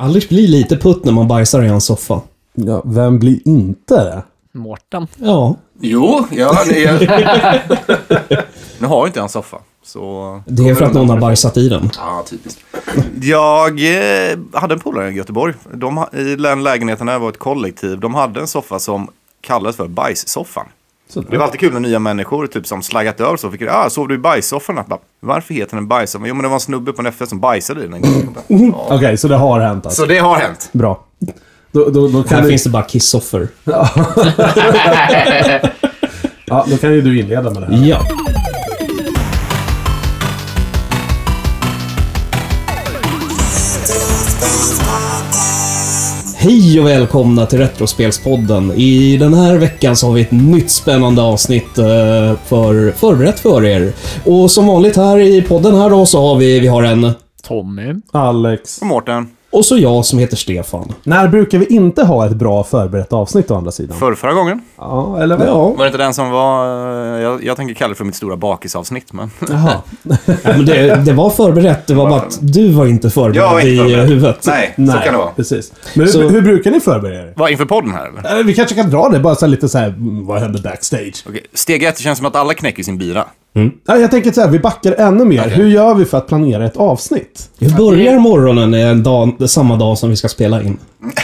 Anders blir lite putt när man bajsar i hans soffa. Ja, vem blir inte det? Mårten. Ja, Jo, ja, det är... Nu har jag inte en soffa. Så... det är för att någon har bajsat i den. Ja, typiskt. Jag eh, hade en polare i Göteborg. De, ha- I den lägenheten där var ett kollektiv. De hade en soffa som kallades för bajssoffan. Det var alltid kul när nya människor typ, som slaggat över så fick det, ah, sov du i bajssoffan? Jag bara, Varför heter den bajssoffan? Jo, men det var en snubbe på en FF som bajsade i den en gång. Okej, så det har hänt alltså. Så det har hänt. Bra. Då, då, då, kan Här vi, finns det bara kissoffer. ja, då kan ju du inleda med det här. Ja. Hej och välkomna till Retrospelspodden. I den här veckan så har vi ett nytt spännande avsnitt eh, för, förberett för er. Och som vanligt här i podden här då så har vi, vi har en Tommy. Alex. Och Mårten, och så jag som heter Stefan. När brukar vi inte ha ett bra förberett avsnitt å andra sidan? för förra gången. Ja, eller vad? Ja, Var det inte den som var... eh, Jag, jag tänker kalla det för mitt stora bakisavsnitt, men... jaha. Ja, men det, det var förberett, det var bara att du var inte förberedd Jag var inte i förberedd. huvudet. Nej, så kan det vara. precis. Men hur, Så- hur brukar ni förbereda er? Vad, inför podden här eller? Eh, Vi kanske kan dra det bara så här lite så här, mm, vad hände backstage? Okej, Steg ett, det känns som att alla knäcker sin bira. Nej, jag tänker så här, vi backar ännu mer. Mm. Okej. Hur gör vi för att planera ett avsnitt? Vi börjar morgonen en dag, samma dag som vi ska spela in.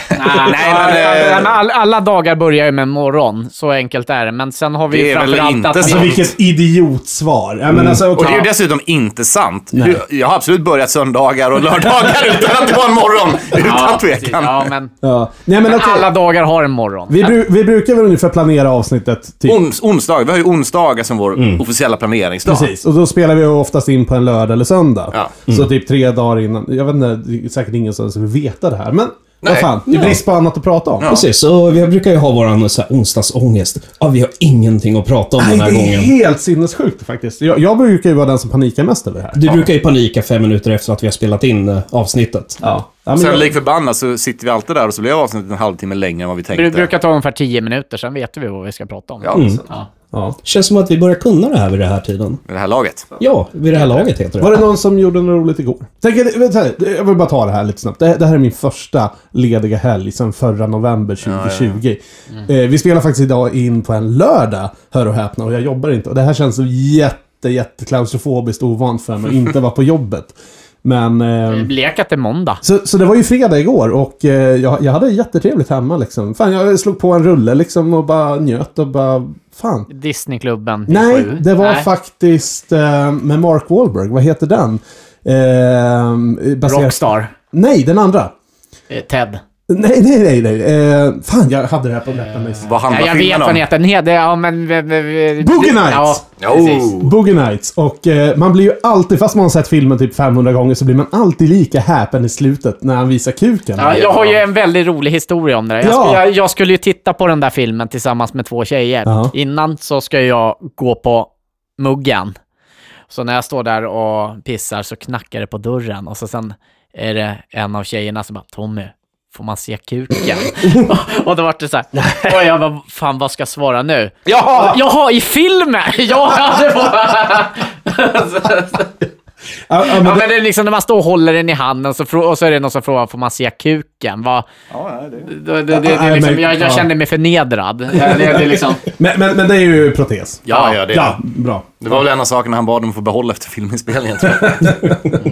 Nej, men, eh, alla, alla, alla dagar börjar ju med morgon. Så enkelt är det. Men sen har vi Det är väl framförallt inte att... vi- så. Alltså vilket idiotsvar. Ja, men alltså, Mm. Och det okej. är ju dessutom inte sant. Du- Jag har absolut börjat söndagar och lördagar utan att det var en morgon. Utan Ja, precis. tvekan. Ja, men, Ja. Nej, men men okej. alla dagar har en morgon. Vi, bru- vi brukar väl ungefär planera avsnittet typ Ons, onsdag, vi har ju onsdagar som vår officiella planeringsdag. Precis, och då spelar vi oftast in på en lördag eller söndag. Ja. Mm. Så typ tre dagar innan. Jag vet inte, det är säkert ingen som vill veta det här. Men vad Nej. fan, det är brist på annat att prata om. Precis, så vi brukar ju ha våran så här onsdagsångest. Ja, vi har ingenting att prata om den här det är gången. helt sinnessjukt faktiskt. Jag, jag brukar ju vara den som panikar mest över det här. Du brukar ju panika fem minuter efter att vi har spelat in eh, avsnittet. Ja. Ja, men Sen jag, lik förbannat så sitter vi alltid där och så blir avsnittet en halvtimme längre än vad vi Det tänkte. brukar ta ungefär 10 minuter, sen vet vi vad vi ska prata om. Ja, så- Ja. ja. Känns som att vi börjar kunna det här vid den här tiden. med det här laget. Ja, vid det här laget heter Var det. det någon som gjorde något roligt igår? Tänk, att- vänta här, jag vill bara ta det här lite snabbt. Det, det här är min första lediga helg sedan förra november 2020. Eh, vi spelar faktiskt idag in på en lördag, hör och häpna, och jag jobbar inte. Och det här känns så jätte, jätte klaustrofobiskt och ovant för mig att inte vara på jobbet. Men... ehm, Lek att det är måndag. så, så det var ju fredag igår och eh, jag, jag hade jättetrevligt hemma liksom. Fan, jag slog på en rulle liksom och bara njöt och bara... Fan. Disneyklubben till Nej, sju. det var Nej. faktiskt eh, med Mark Wahlberg. Vad heter den? Eh, baserat- Rockstar. Nej, den andra. Eh, Ted. Nej, nej, nej. nej. Eh, fan, jag hade det här på läpparna. Uh, Vad handlar Ja, jag vet filmen vad den om? heter. Den heter... Ja, men... v- v- v- Boogie Nights! Ja, precis. Oh. Boogie Nights. Och eh, man blir ju alltid, fast man har sett filmen typ 500 gånger, så blir man alltid lika häpen i slutet när han visar kuken. Ja, jag har ju en väldigt rolig historia om det där. Jag, Ja. skulle, jag, jag skulle ju titta på den där filmen tillsammans med två tjejer. Ja. Innan så ska jag gå på muggen. Så när jag står där och pissar så knackar det på dörren och så sen är det en av tjejerna som bara Tommy, får man se kuken? och, och då vart det så här, och jag bara, fan vad ska jag svara nu? Jaha! Jaha, i filmen! ja, det var... Ja, ja, men Ja, det- men det är liksom när man står och håller den i handen så frå- och så är det någon som frågar får man se kuken. Vad- det, det, det, det, Nej, är liksom, men- jag, jag ja. känner mig förnedrad. Ja, det, det, är liksom, Men, men, men det är ju protes. Ja, ja, det, Ja, bra. det var väl en av sakerna han bad om att få behålla efter filminspelningen. Tror jag.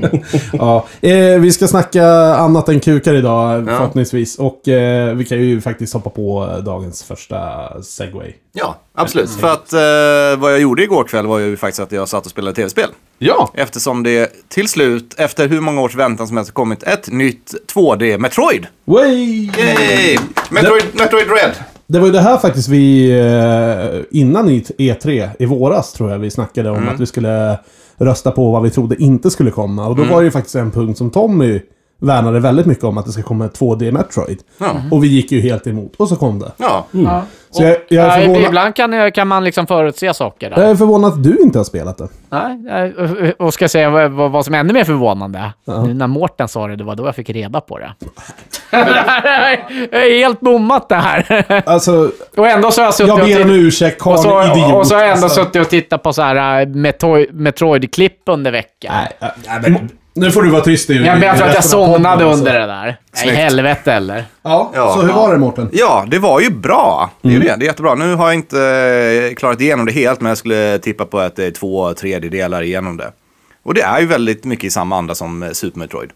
Ja. Eh, vi ska snacka annat än kukar idag förhoppningsvis. Och eh, vi kan ju faktiskt hoppa på eh, dagens första segway. Ja, absolut. För att eh, vad jag gjorde igår kväll var ju faktiskt att jag satt och spelade tv-spel. Ja! Eftersom det till slut, efter hur många års väntan som helst, har kommit ett nytt 2D Metroid. Way! Yay! Metroid, Metroid Red. Det var ju det här faktiskt vi, eh, innan i E3 i våras tror jag vi snackade om Mm. att vi skulle rösta på vad vi trodde inte skulle komma. Och då Mm. var det ju faktiskt en punkt som Tommy värnade väldigt mycket om att det ska komma ett 2D Metroid. Ja. Och vi gick ju helt emot. Och så kom det. Ja. Så jag, jag är ja, förvånad, ibland kan, kan man liksom förutse saker. Där. jag är förvånad att du inte har spelat det. Nej, nej, och- och ska jag säga vad, vad- vad som är ännu mer förvånande? Nu när Mårten sa det, det var då jag fick reda på det. jag är helt bommat det här. Alltså, och ändå så har jag suttit jag och ber om tittat- ursäkt, Karl och så, är idiot. och så har jag ändå Alltså, suttit och tittat på så här eh, Metoi- Metroid-klipp under veckan. Nej, äh, Nej, men Nu får du vara tyst i Ja, men jag tror att jag resten av podden, somnade alltså. under det där. Nej, Snyggt. helvete eller? Ja, Ja. så hur var det Mårten? Ja, det var ju bra. Det är, ju det. det är jättebra. Nu har jag inte eh, klarat igenom det helt, men jag skulle tippa på att det är två tredjedelar igenom det. Och det är ju väldigt mycket i samma anda som eh, Super Metroid.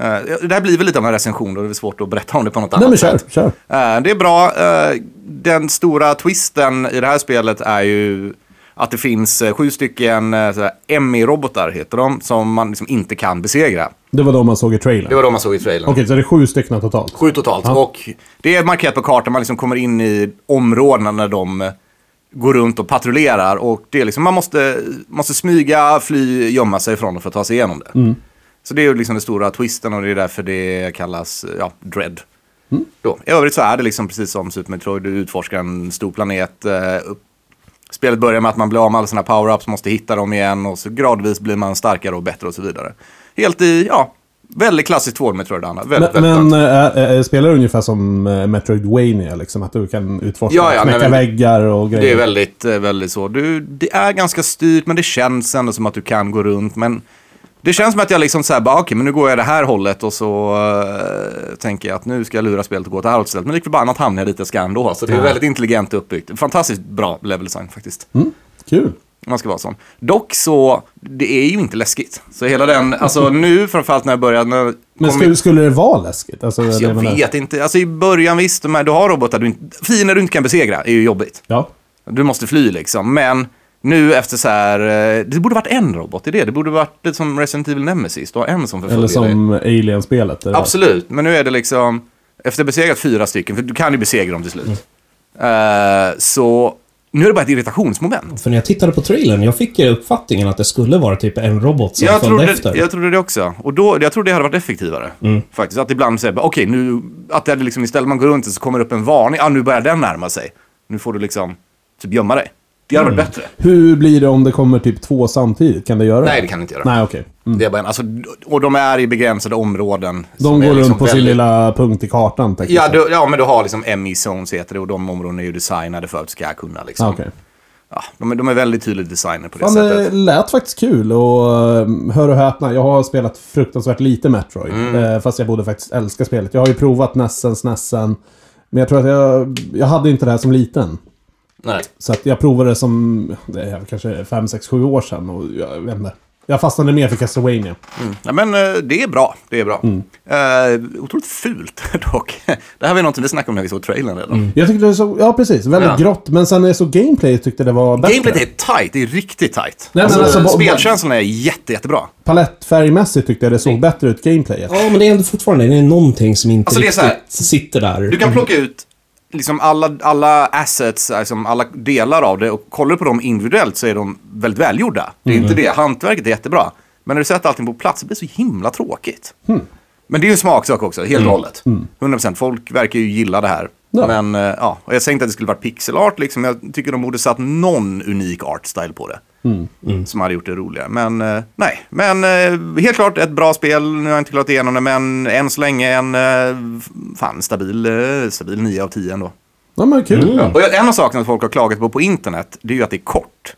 Eh, Det här blir väl lite av en recension, då det är svårt att berätta om det på något Nej annat men sätt. kör, kör. Eh, Det är bra. Eh, Den stora twisten i det här spelet är ju att det finns eh, sju stycken eh, så här Emmy-robotar, heter de, som man liksom inte kan besegra. Det var de man såg i trailern. Det var de man såg i trailern. Okej, så det är sju stycken totalt? Sju totalt. Ja. Och det är markerat på kartan, man liksom kommer in i områdena när de eh, går runt och patrullerar. Och det är liksom, man måste, måste smyga, fly, gömma sig från dem för att ta sig igenom det. Mm. Så det är ju liksom den stora twisten och det är därför det kallas eh, ja, dread. Mm. Då. I övrigt så är det liksom precis som Super Metroid, du utforskar en stor planet. Eh, upp. Spelet börjar med att man blir av med alla sina power-ups, måste hitta dem igen och så gradvis blir man starkare och bättre och så vidare. Helt i, ja, väldigt klassiskt 2 Metroid, Anna. Väldigt, väldigt Men, klassiskt. men äh, äh, spelar det ungefär som äh, Metroidvania liksom? Att du kan utforska, Ja, ja, knäcka nej, men- väggar och grejer? Det är väldigt, eh, väldigt så. Du, det är ganska styrt, men det känns ändå som att du kan gå runt. Men det känns som att jag liksom säger bara, okej, men nu går jag det här hållet och så eh, tänker jag att nu ska jag lura spelet att gå åt det här hållet istället. Men lik förbannat hamnar jag dit jag ska ändå. Så det är väldigt intelligent uppbyggt. Fantastiskt bra level design faktiskt. Mm, Kul. Om man ska vara sån. Dock så, det är ju inte läskigt. Så hela den, alltså nu framförallt när jag började, när jag Men kom skulle, skulle det vara läskigt? Alltså, Alltså, det jag menar- vet inte. Alltså i början visst, de här, du har robotar du inte, fiender du inte kan besegra är ju jobbigt. Ja. Du måste fly liksom. Men nu efter så här, eh, det borde varit en robot, det är det. Det borde varit lite som Resident Evil Nemesis, du har en som förföljer Eller dig. som Alien-spelet. där det var- Absolut, men nu är det liksom, efter besegrat fyra stycken, för du kan ju besegra dem till slut. Eh, så nu är det bara ett irritationsmoment. För när jag tittade på trailern, jag fick ju uppfattningen att det skulle vara typ en robot som Jag följde trodde, efter. jag trodde det också. Och då, jag trodde det hade varit effektivare. Faktiskt. Att ibland säga, okej nu, att det hade liksom, istället man går runt så kommer det upp en varning. Ah, nu börjar den närma sig. Nu får du liksom, typ gömma dig. Det hade varit bättre. Hur blir det om det kommer typ två samtidigt? Kan det göra Nej, det kan det inte göra. Nej, okej. Mm. Det är bara en, alltså, och de är i begränsade områden. som De är går liksom runt på sin väldigt- lilla punkt i kartan, tänker Ja, jag. du, ja, men du har liksom MI-zones heter det och de områdena är ju designade för att du ska kunna liksom. Ah, okej. Ja, de, är- de är väldigt tydligt designade på det Fan, det sättet. lät faktiskt kul och eh, hör och häpna, jag har spelat fruktansvärt lite Metroid. Mm. eh, Fast jag borde faktiskt älska spelet. Jag har ju provat Nessen, Snessen. Men jag tror att jag, jag hade inte det här som liten. Nej. Så att jag provade det som, det är kanske 5, 6, 7 år sedan och jag vet inte. Jag fastnade mer för Castlevania. Ja, men eh, det är bra. Det är bra. Mm. Eh, otroligt fult dock. Det här var ju någonting vi snackade om när vi såg trailern redan. Jag tyckte det så, ja precis, väldigt Ja. grått. Men sen när jag såg gameplay tyckte det var bättre. Gameplayet är tight, det är riktigt tight. men alltså, alltså, bo- spelkänslan är jätte, jättebra. Palettfärgmässigt tyckte jag det Mm. såg bättre ut gameplayet. Ja, men det är ändå fortfarande det är någonting som inte Alltså, det är så riktigt här- sitter där. Du kan plocka ut liksom alla, alla assets, liksom alla delar av det och kollar du på dem individuellt så är de väldigt välgjorda. Det är inte det, hantverket är jättebra. Men när du sätter allting på plats det blir så himla tråkigt. Men det är ju en smaksak också, helt och hållet. 100%. Folk verkar ju gilla det här. Ja. Men eh, ja, och jag säger inte att det skulle varit pixelart liksom. Jag tycker de borde satt någon unik artstyle på det. Mm. Som hade gjort det roligare. Men eh, nej, men eh, helt klart ett bra spel. Nu har jag inte klarat igenom det, men än så länge en eh, fan stabil, eh, stabil 9 av 10 ändå. Ja men kul. Och en av sakerna folk har klagat på på internet, det är ju att det är kort.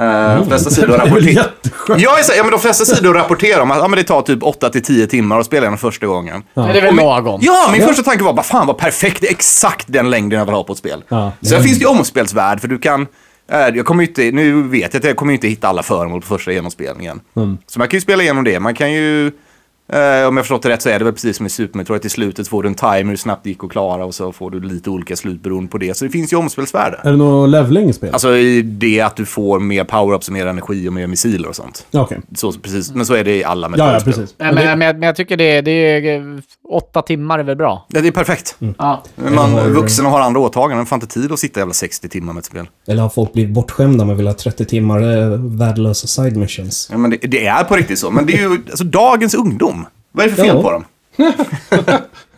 Uh, de flesta sidor Mm. Det är väl rapporterar... jätteskönt. Ja, exakt. ja, men de flesta sidor rapporterar om att ja, men det tar typ 8-10 timmar att spela den första gången. Men det är väl Och min- lagom? Ja, min första tanke var bara fan vad perfekt, det är exakt den längden jag vill ha på ett spel. Ja. Mm. Sen finns det ju omspelsvärd för du kan, eh, jag kommer ju inte, nu vet jag att jag kommer ju inte hitta alla föremål på första genomspelningen. Mm. Så man kan ju spela igenom det, man kan ju, eh, om jag förstått det rätt så är det väl precis som i Super Metroid, till slutet får du en timer hur snabbt det gick att klara och så får du lite olika slut beroende på det. Så det finns ju omspelsvärde. Är det någon leveling i spelet? Alltså i det att du får mer power-ups, och mer energi och mer missiler och sånt. Ja, Okej. Så, precis, men så är det i alla Ja, ja Metroid-spel. precis. Nej, men, men, jag, men jag tycker det, det är ju, eh, åtta timmar är väl bra? Ja, det är perfekt. Mm. Ja. Man är vuxen och har andra åtaganden. Man får inte tid att sitta jävla 60 timmar med ett spel. Eller har folk blivit bortskämda med att vilja ha 30 timmar eh, värdelösa side missions? Ja, men det, det är på riktigt så. Men det är ju alltså, dagens ungdom. Vad är det för fel Ja. på dem?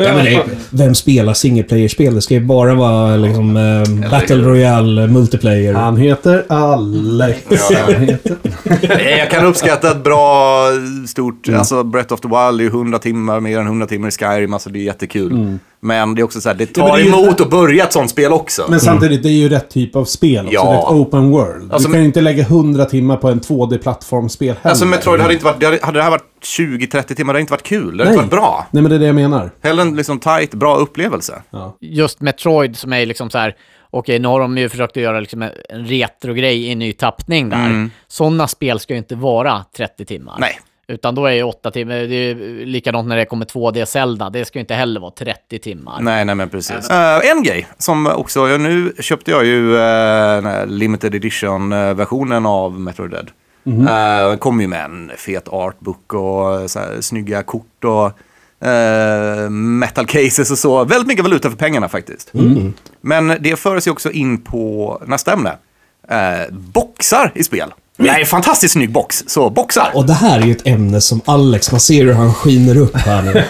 Ja, men det, vem spelar single player-spel? Det ska ju bara vara liksom, eh, Battle Royale, eh, multiplayer. Han heter Alex. Han heter... Nej, Jag kan uppskatta ett bra, Mm. stort... Alltså Breath of the Wild är ju 100 timmar, mer än 100 timmar i Skyrim. Alltså det är jättekul. Men det är också så här, det Mm. Ja, men tar det är ju- emot att börja ett sånt spel också. Men samtidigt, det är ju rätt typ av spel också. Ja. Det är ett open world. Alltså, du kan ju inte lägga 100 timmar på en 2D-plattformsspel heller. Alltså Metroid hade inte varit, det hade, hade det här varit 20-30 timmar, det hade inte varit kul. Det hade Nej. inte varit bra. Nej, men det är det jag menar. Hellre en liksom tight, bra upplevelse. just Metroid som är liksom så här, okej nu har de ju försökt att göra liksom en en retrogrej i en ny tappning där. Sådana spel ska ju inte vara 30 timmar. Mm. Nej. Utan då är ju 8 timmar, det är ju likadant när det kommer 2D Zelda, det ska ju inte heller vara 30 timmar. Nej, nej men precis. Eh, en grej som också, ja, nu köpte jag ju eh, den här limited edition-versionen av Metroid Dead. Eh, den kom ju med en fet artbook och eh, så här, snygga kort och eh, metal cases och så. Väldigt mycket valuta för pengarna faktiskt. Men det för sig också in på nästa ämne. Eh, boxar i spel. Det här är en fantastiskt snygg box, så boxar. Och det här är ju ett ämne som Alex, man ser hur han skiner upp här nu.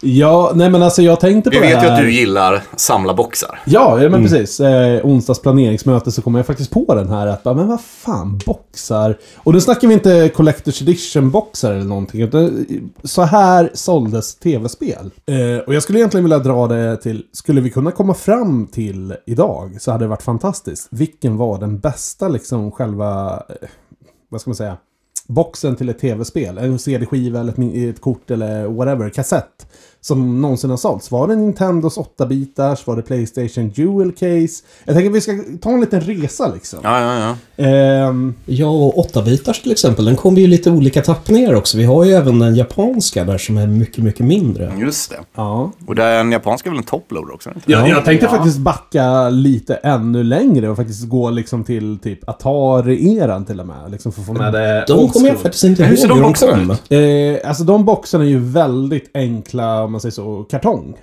Ja, nej men alltså jag tänkte på Vi det vet ju här. att du gillar samla boxar. Ja, ja men precis. Eh, onsdags planeringsmöte så kom jag faktiskt på den här att, bara, men vad fan, boxar. Och nu snackar vi inte Collector's Edition-boxar eller någonting. Utan eh, så här såldes tv-spel. Eh, och jag skulle egentligen vilja dra det till, skulle vi kunna komma fram till idag så hade det varit fantastiskt. Vilken var den bästa liksom själva, eh, vad ska man säga? boxen till ett tv-spel, en CD-skiva eller ett, min- ett kort eller whatever, kassett. Som någonsin har sålts. Var det Nintendos 8-bitars? Var det Playstation Dual Case? Jag tänker att vi ska ta en liten resa liksom. Ja, ja, ja. Ehm, Ja, och 8-bitars till exempel, den kommer ju i lite olika tappningar också. Vi har ju även den japanska där som är mycket, mycket mindre. Just det. ja. Och den japanska är väl en topploader också? Inte? Jag, jag tänkte Ja. faktiskt backa lite ännu längre och faktiskt gå liksom till typ Atari-eran till och med. Liksom för att få med det De old kommer jag school. faktiskt inte Hur ihåg ser de boxarna kom. ut? Eh, alltså de boxarna är ju väldigt enkla, om man säger så, kartong.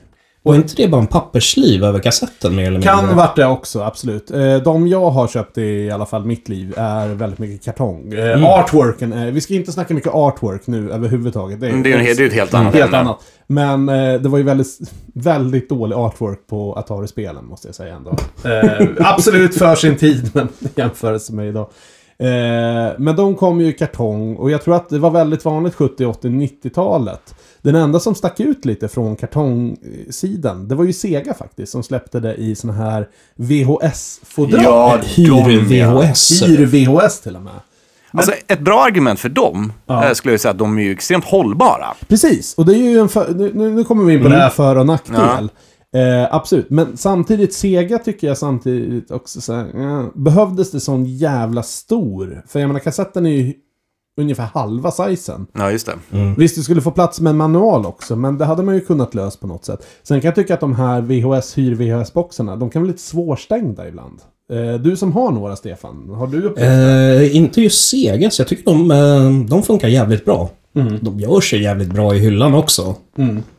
Och är inte det bara en pappersliv över kassetten mer eller mindre? Kan varit det också, absolut. Eh, De jag har köpt i alla fall mitt liv är väldigt mycket kartong. Eh, Mm. Artworken, är, vi ska inte snacka mycket artwork nu överhuvudtaget. Mm, Det är ju det är ju ett helt annat helt ämne. annat. Men eh, det var ju väldigt, väldigt dålig artwork på Atari-spelen, måste jag säga ändå. Eh, absolut för sin tid, men i jämförelse med idag. Eh, men de kom ju i kartong och jag tror att det var väldigt vanligt 70, 80, 90-talet. Den enda som stack ut lite från kartongsidan, det var ju Sega faktiskt, som släppte det i såna här VHS-fodral. Ja, Hyr de, ja. VHS. Hyr VHS till och med. Alltså, ett bra argument för dem Ja. eh, skulle jag säga att de är ju extremt hållbara. Precis, och det är ju en för, nu- nu, nu kommer vi in på det här för och nackdel. Eh, absolut, men samtidigt Sega tycker jag samtidigt också så här, eh, Behövdes det sån jävla stor? För jag menar kassetten är ju ungefär halva sizen. Ja, just det. Visst, du skulle få plats med en manual också, men det hade man ju kunnat lösa på något sätt. Sen kan jag tycka att de här VHS, hyr-VHS-boxarna, de kan vara lite svårstängda ibland. Eh, du som har några, Stefan, har du upplevt Eh, inte just Sega, så jag tycker de, eh, de funkar jävligt bra. Mm. De gör sig jävligt bra i hyllan också.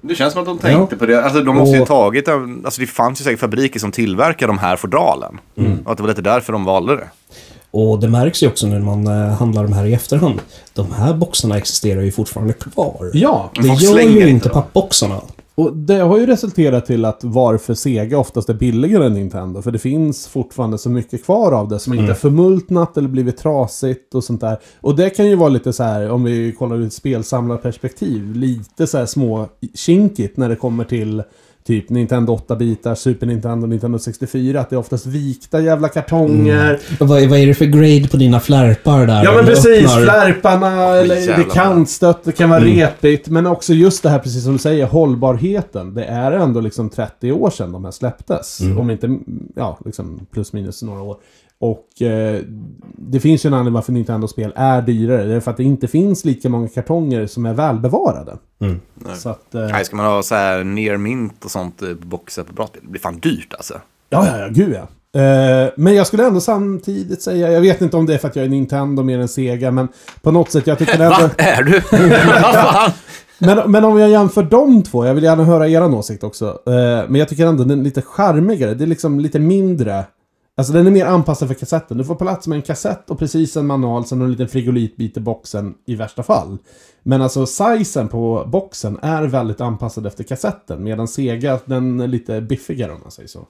Det känns som att de tänkte på det. Alltså, de måste ju tagit... en- Alltså, det fanns ju säkert fabriker som tillverkar de här fodralen. Mm. Och att det var lite därför de valde det. Och det märks ju också när man eh, handlar de här i efterhand. De här boxarna existerar ju fortfarande kvar. Ja, Det Folk gör slänger ju inte inte dem. pappboxarna. Och det har ju resulterat till att varför Sega oftast är billigare än Nintendo. För det finns fortfarande så mycket kvar av det som inte är förmultnat eller blivit trasigt och sånt där. Och det kan ju vara lite så här, om vi kollar ur ett spelsamlarperspektiv, lite så här små kinkigt när det kommer till typ Nintendo 8-bitar, Super Nintendo, Nintendo 64. Att det är oftast vikta jävla kartonger. Vad, vad är det för grade på dina flärpar där? Ja men När du precis, öppnar- flärparna, eller jävla det kan stött, det kan vara repigt. Men också just det här, precis som du säger, hållbarheten. Det är ändå liksom 30 år sedan de här släpptes. Om inte, ja, liksom plus minus några år. Och eh, det finns ju en anledning varför Nintendo-spel är dyrare. Det är för att det inte finns lika många kartonger som är välbevarade. Så att, eh, ja, Nej, ska man ha så här near mint och sånt eh, boxar på bra spel? Det blir fan dyrt alltså. ja, ja, gud ja. Eh, Men jag skulle ändå samtidigt säga, jag vet inte om det är för att jag är Nintendo mer än Sega, men på något sätt jag tycker ändå... Va? Är du? Vad fan? Men, men om jag jämför de två, jag vill gärna höra er åsikt också. Eh, men jag tycker ändå den är lite charmigare. Det är liksom lite mindre. Alltså den är mer anpassad för kassetten. Du får plats med en kassett och precis en manual, sen en liten frigolitbit i boxen i värsta fall. Men alltså sizen på boxen är väldigt anpassad efter kassetten. Medan Sega, den är lite biffigare om man säger så.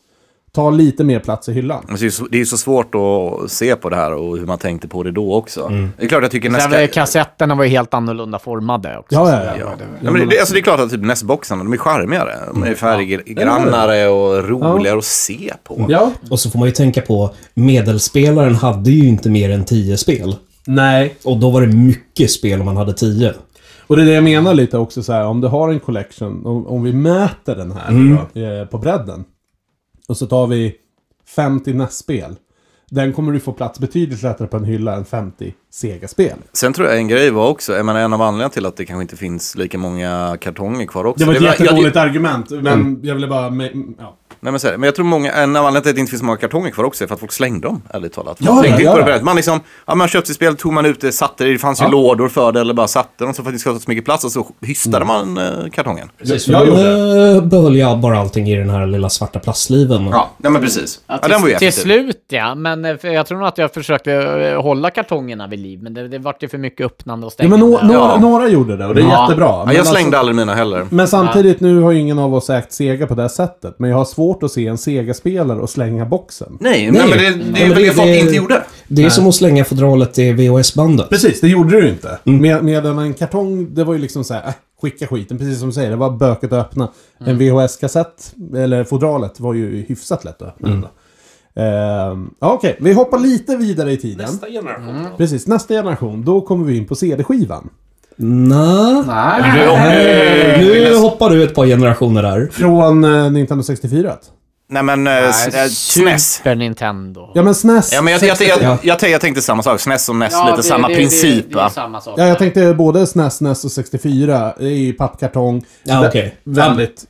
Ta lite mer plats i hyllan. Men Det är ju så- det är ju så svårt att se på det här och hur man tänkte på det då också. Mm. Det är klart jag tycker Sen, nästa... var ju kassetterna var ju helt annorlunda formade också. Ja, ja, ja. Mm. Ja, men det, alltså det är klart att typ nästboxarna, de är charmigare. De är färggrannare och roligare att se på. ja. Och så får man ju tänka på, medelspelaren hade ju inte mer än 10 spel. Nej. Och då var det mycket spel om man hade 10. Och det är det jag menar lite också så här, om du har en collection, om, om vi mäter den här då, eh, på bredden. Och så tar vi 50 nästspel. Den kommer du få plats betydligt lättare på en hylla än 50 Sega-spel. Sen tror jag en grej var också, jag menar, en av anledningarna till att det kanske inte finns lika många kartonger kvar Det också. var ett är väl- jag- jättedåligt argument, men jag ville bara... me- Ja. Nej men så är det. Men jag tror många, en av anledningarna till att det inte finns så många kartonger kvar också är för att folk slängde dem, ärligt talat. Ja, Man tänkte ja, inte på det ja. på det. Man liksom, ja, man köpte spel, tog man ut det, satte det, det fanns ju lådor för det eller bara satte dem så för att det skulle ta så mycket plats och så hystade man eh, kartongen. Precis, jag jag gjorde behöll jag bara allting i den här lilla svarta plastliven. Ja, nej men precis. Ja, till, den var ju till effektiv. slut ja, men eh, för jag tror nog att jag försökte eh, hålla kartongerna vid liv, men det, det vart ju för mycket öppnande och Ja, stängande. men nå- några, Ja. några gjorde det och det är Ja. jättebra. Ja, Men jag slängde alltså, aldrig mina heller. Men samtidigt, nu har ju ingen av oss ägt Sega på det här sättet. Men jag har svårt att se en Sega-spelare och slänga boxen. Nej, nej, men det, det är men väl det folk inte gjorde. Det är som att slänga fodralet i VHS-bandet. Precis, det gjorde du inte. Med, medan en kartong, det var ju liksom så här, äh, skicka skiten. Precis som du säger, det var böket att öppna. En VHS-kassett, eller fodralet, var ju hyfsat lätt att öppna. ändå. Ehm, ja, Okej, vi hoppar lite vidare i tiden. generation. Mm. Precis, nästa generation. Då kommer vi in på CD-skivan. Nå. Nej. Nej, Nu hoppar du ett par generationer där. Från eh, Nintendo 64. Nej men, eh, s- eh, SNES. Super Nintendo. Ja, men E SNES. Ja, men jag, jag, jag, Ja. jag, jag, jag tänkte samma sak. SNES och NES, lite det- samma det- princip. Det, det, är va? ju samma sak. Ja, jag tänkte både E SNES, NES och 64. Det är ju pappkartong. Ja, Vä- okej. Väldigt...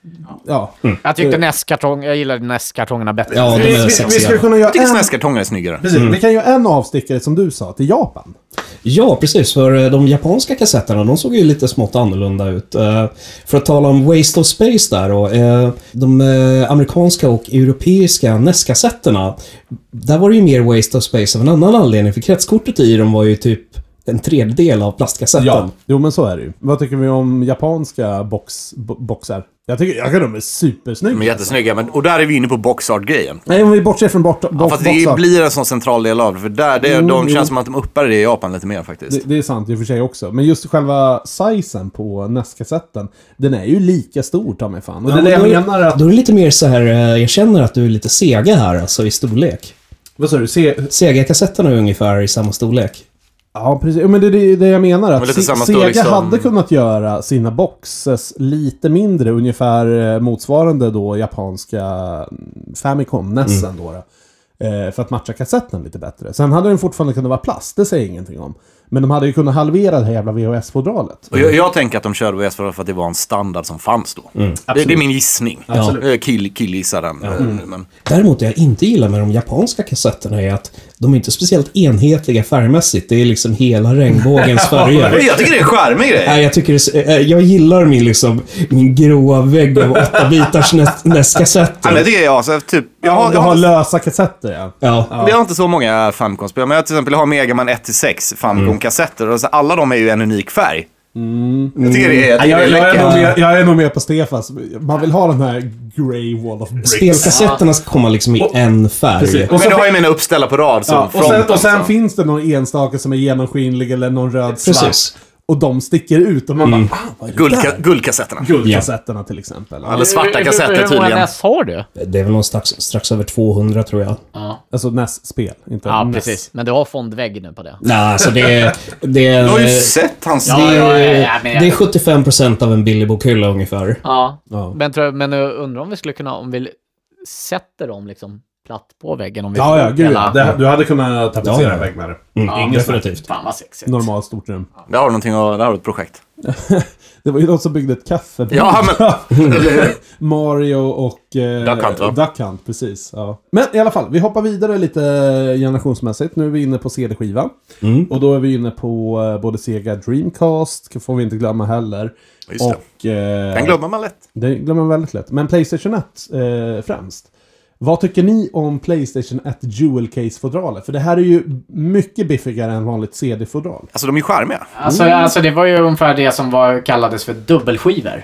Ja. Jag tyckte NES-kartong, jag gillade NES-kartongerna bättre. Ja, de Vi, är vi, vi sexiga. skulle kunna göra Jag tycker en... SNES-kartongen är snyggare. Precis, vi kan göra en avstickare som du sa, till Japan. Ja, precis. För eh, de japanska kassetterna, de såg ju lite smått annorlunda ut. Eh, För att tala om Waste of Space där och eh, de eh, amerikanska och europeiska NES-kassetterna. Där var det ju mer Waste of Space av en annan anledning, för kretskortet i dem var ju typ en tredjedel av plastkassetten. Jo, men så är det ju. Vad tycker vi om japanska box, bo, boxar? Jag tycker, jag tycker de är supersnygga. De är jättesnygga. Men, och där är vi inne på boxart-grejen. Nej, om vi bortser från bort, Ja, bo, fast boxar. det blir en sån central del av det. För där, det, de känns som att de uppar det i Japan lite mer faktiskt. Det, det är sant i och för sig också. Men just själva sizen på NES-kassetten, den är ju lika stor ta mig fan. Och det är det jag då, menar att... Då är det lite mer så här, eh, jag känner att du är lite sega här alltså i storlek. Vad sa du? Se, Sega-kassetterna är ungefär i samma storlek. Ja, precis. Jo, Men det är det, det jag menar. Men Att lite Se- samma Sega storlek som- hade kunnat göra sina boxes lite mindre. Ungefär eh, motsvarande då japanska mm, Famicom nästan Mm. då. då eh, för att matcha kassetten lite bättre. Sen hade den fortfarande kunnat vara plast, det säger jag ingenting om. Men de hade ju kunnat halvera det här jävla VHS-fodralet. Och jag, jag tänker att de körde OS för att det var en standard som fanns då. det, det är min gissning. Absolut. Jag kill, killgissar den. eh, Men, Däremot det jag inte gillar med de japanska kassetterna är att de är inte speciellt enhetliga färgmässigt. Det är liksom hela regnbågens färger. men jag tycker det är en charmig grej. Nej, jag, tycker det, är så- eh, jag gillar min, liksom, min gråa vägg av åtta bitars näs- Ja, nästkassetter. men det är jag. Så, typ, jag, Ja, har, du jag, har har, lösa kassetter ja. Ja. jag har inte så många Famicom-spel, men jag till exempel har Mega Man 1-6 Famicom-kassetter. och så Alla de är ju en unik färg. Jag tycker det är, Mm. Jag, jag, jag tycker det är jag, är läckert. nog med, jag är nog med på Stefans. Man vill ha den här Grey Wall of Bricks. Spelkassetterna ska komma liksom i en färg. Precis. Och Men sen- du har ju mina uppställda på rad som Ja, och front, sen, och sen alltså. finns det någon enstaka som är genomskinlig eller någon röd svart. Precis. Och de sticker ut och man bara ah, vad är det Guldka- där? guldkassetterna. Guldkassetterna till exempel. Alltså, Eller svarta Hur- kassetter hur- Hur många tydligen. NES har du? Det är väl någon strax, strax över 200 tror jag. Alltså NES-spel, inte Ja, NES. precis. Men du har fondvägg nu på det. Nej, alltså det är... Det är, Du har ju sett hans... Eh, Ja, ja, ja, det ja, men är, jag- det är 75% av en billig bokhylla ungefär. Mm, Ja. Ja. Men, tror jag, men jag undrar om vi skulle kunna, om vi sätter dem liksom platt på väggen. Om vi Ja, får ja, upp gud hela- ja. Det, Du hade kunnat Ja, tapetsera ja. en vägg med det. Mm, definitivt. Fan vad sexigt. Normalt stort rum. Där har du någonting, att- där har du ett projekt. Det var ju någon som byggde ett kaffe. Ja, men... Eller hur? Mario och... Eh, Duck Hunt, va? Duck Hunt, precis. Ja. Men i alla fall, vi hoppar vidare lite generationsmässigt. Nu är vi inne på CD-skiva. Mm. Och då är vi inne på eh, både Sega Dreamcast, får vi inte glömma heller. Just det. och... Eh, Den glömmer man lätt. Det glömmer man väldigt lätt. Men Playstation 1 eh, främst. Vad tycker ni om Playstation 1 Dual Case-fodralet? För det här är ju mycket biffigare än vanligt CD-fodral. Alltså de är ju charmiga. Mm. Alltså, alltså det var ju ungefär det som var, kallades för dubbelskivor.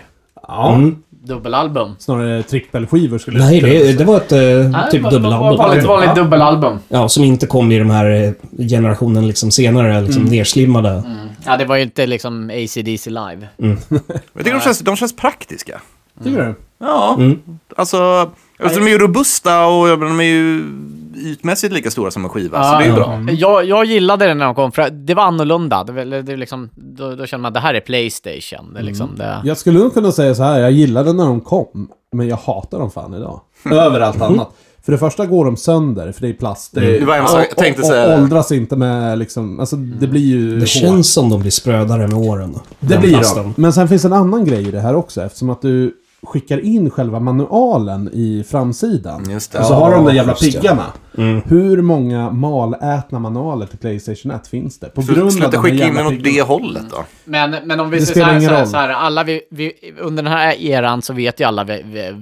Ja. Dubbelalbum. Snarare trippelskivor skulle Nej, jag säga. det, det var ett eh, Nej, typ va- va- va- Vanligt, dubbelalbum. vanligt dubbelalbum. Ja, som inte kom i den här eh, generationen liksom senare, liksom nerslimmade. Ja, det var ju inte liksom ACDC live. Jag tycker de känns, de känns praktiska. Tycker du? Ja, alltså... Alltså, de är ju robusta och jag menar, de är ju ytmässigt lika stora som en skiva, så det är ju bra. Mm. Jag, jag gillade den när de kom, för det var annorlunda. Det, var- det, var liksom, då, då kände man att det här är Playstation. Det, är liksom, det, Jag skulle nog kunna säga så här, jag gillade när de kom, men jag hatar dem fan idag. Mm. Överallt annat. För det första går de sönder, för det är plast. Det, Mm. Det var en sak jag tänkte och, säga. Och åldras inte med liksom, alltså det blir ju Det hårt. känns som de blir sprödare med åren. Det den blir plasten. de. Men sen finns en annan grej i det här också, eftersom att du skickar in själva manualen i framsidan. Just det. Och så har Ja, de de jävla just det. piggarna. Mm. Hur många malätna manualer till Playstation 1 finns det? På grund Så av sluta de här skicka in jävla den åt piggarna. det hållet då. Men, men om vi Det säger så spelar här, ingen så här, roll. så här alla vi, vi, under den här eran så vet ju alla vi, vi,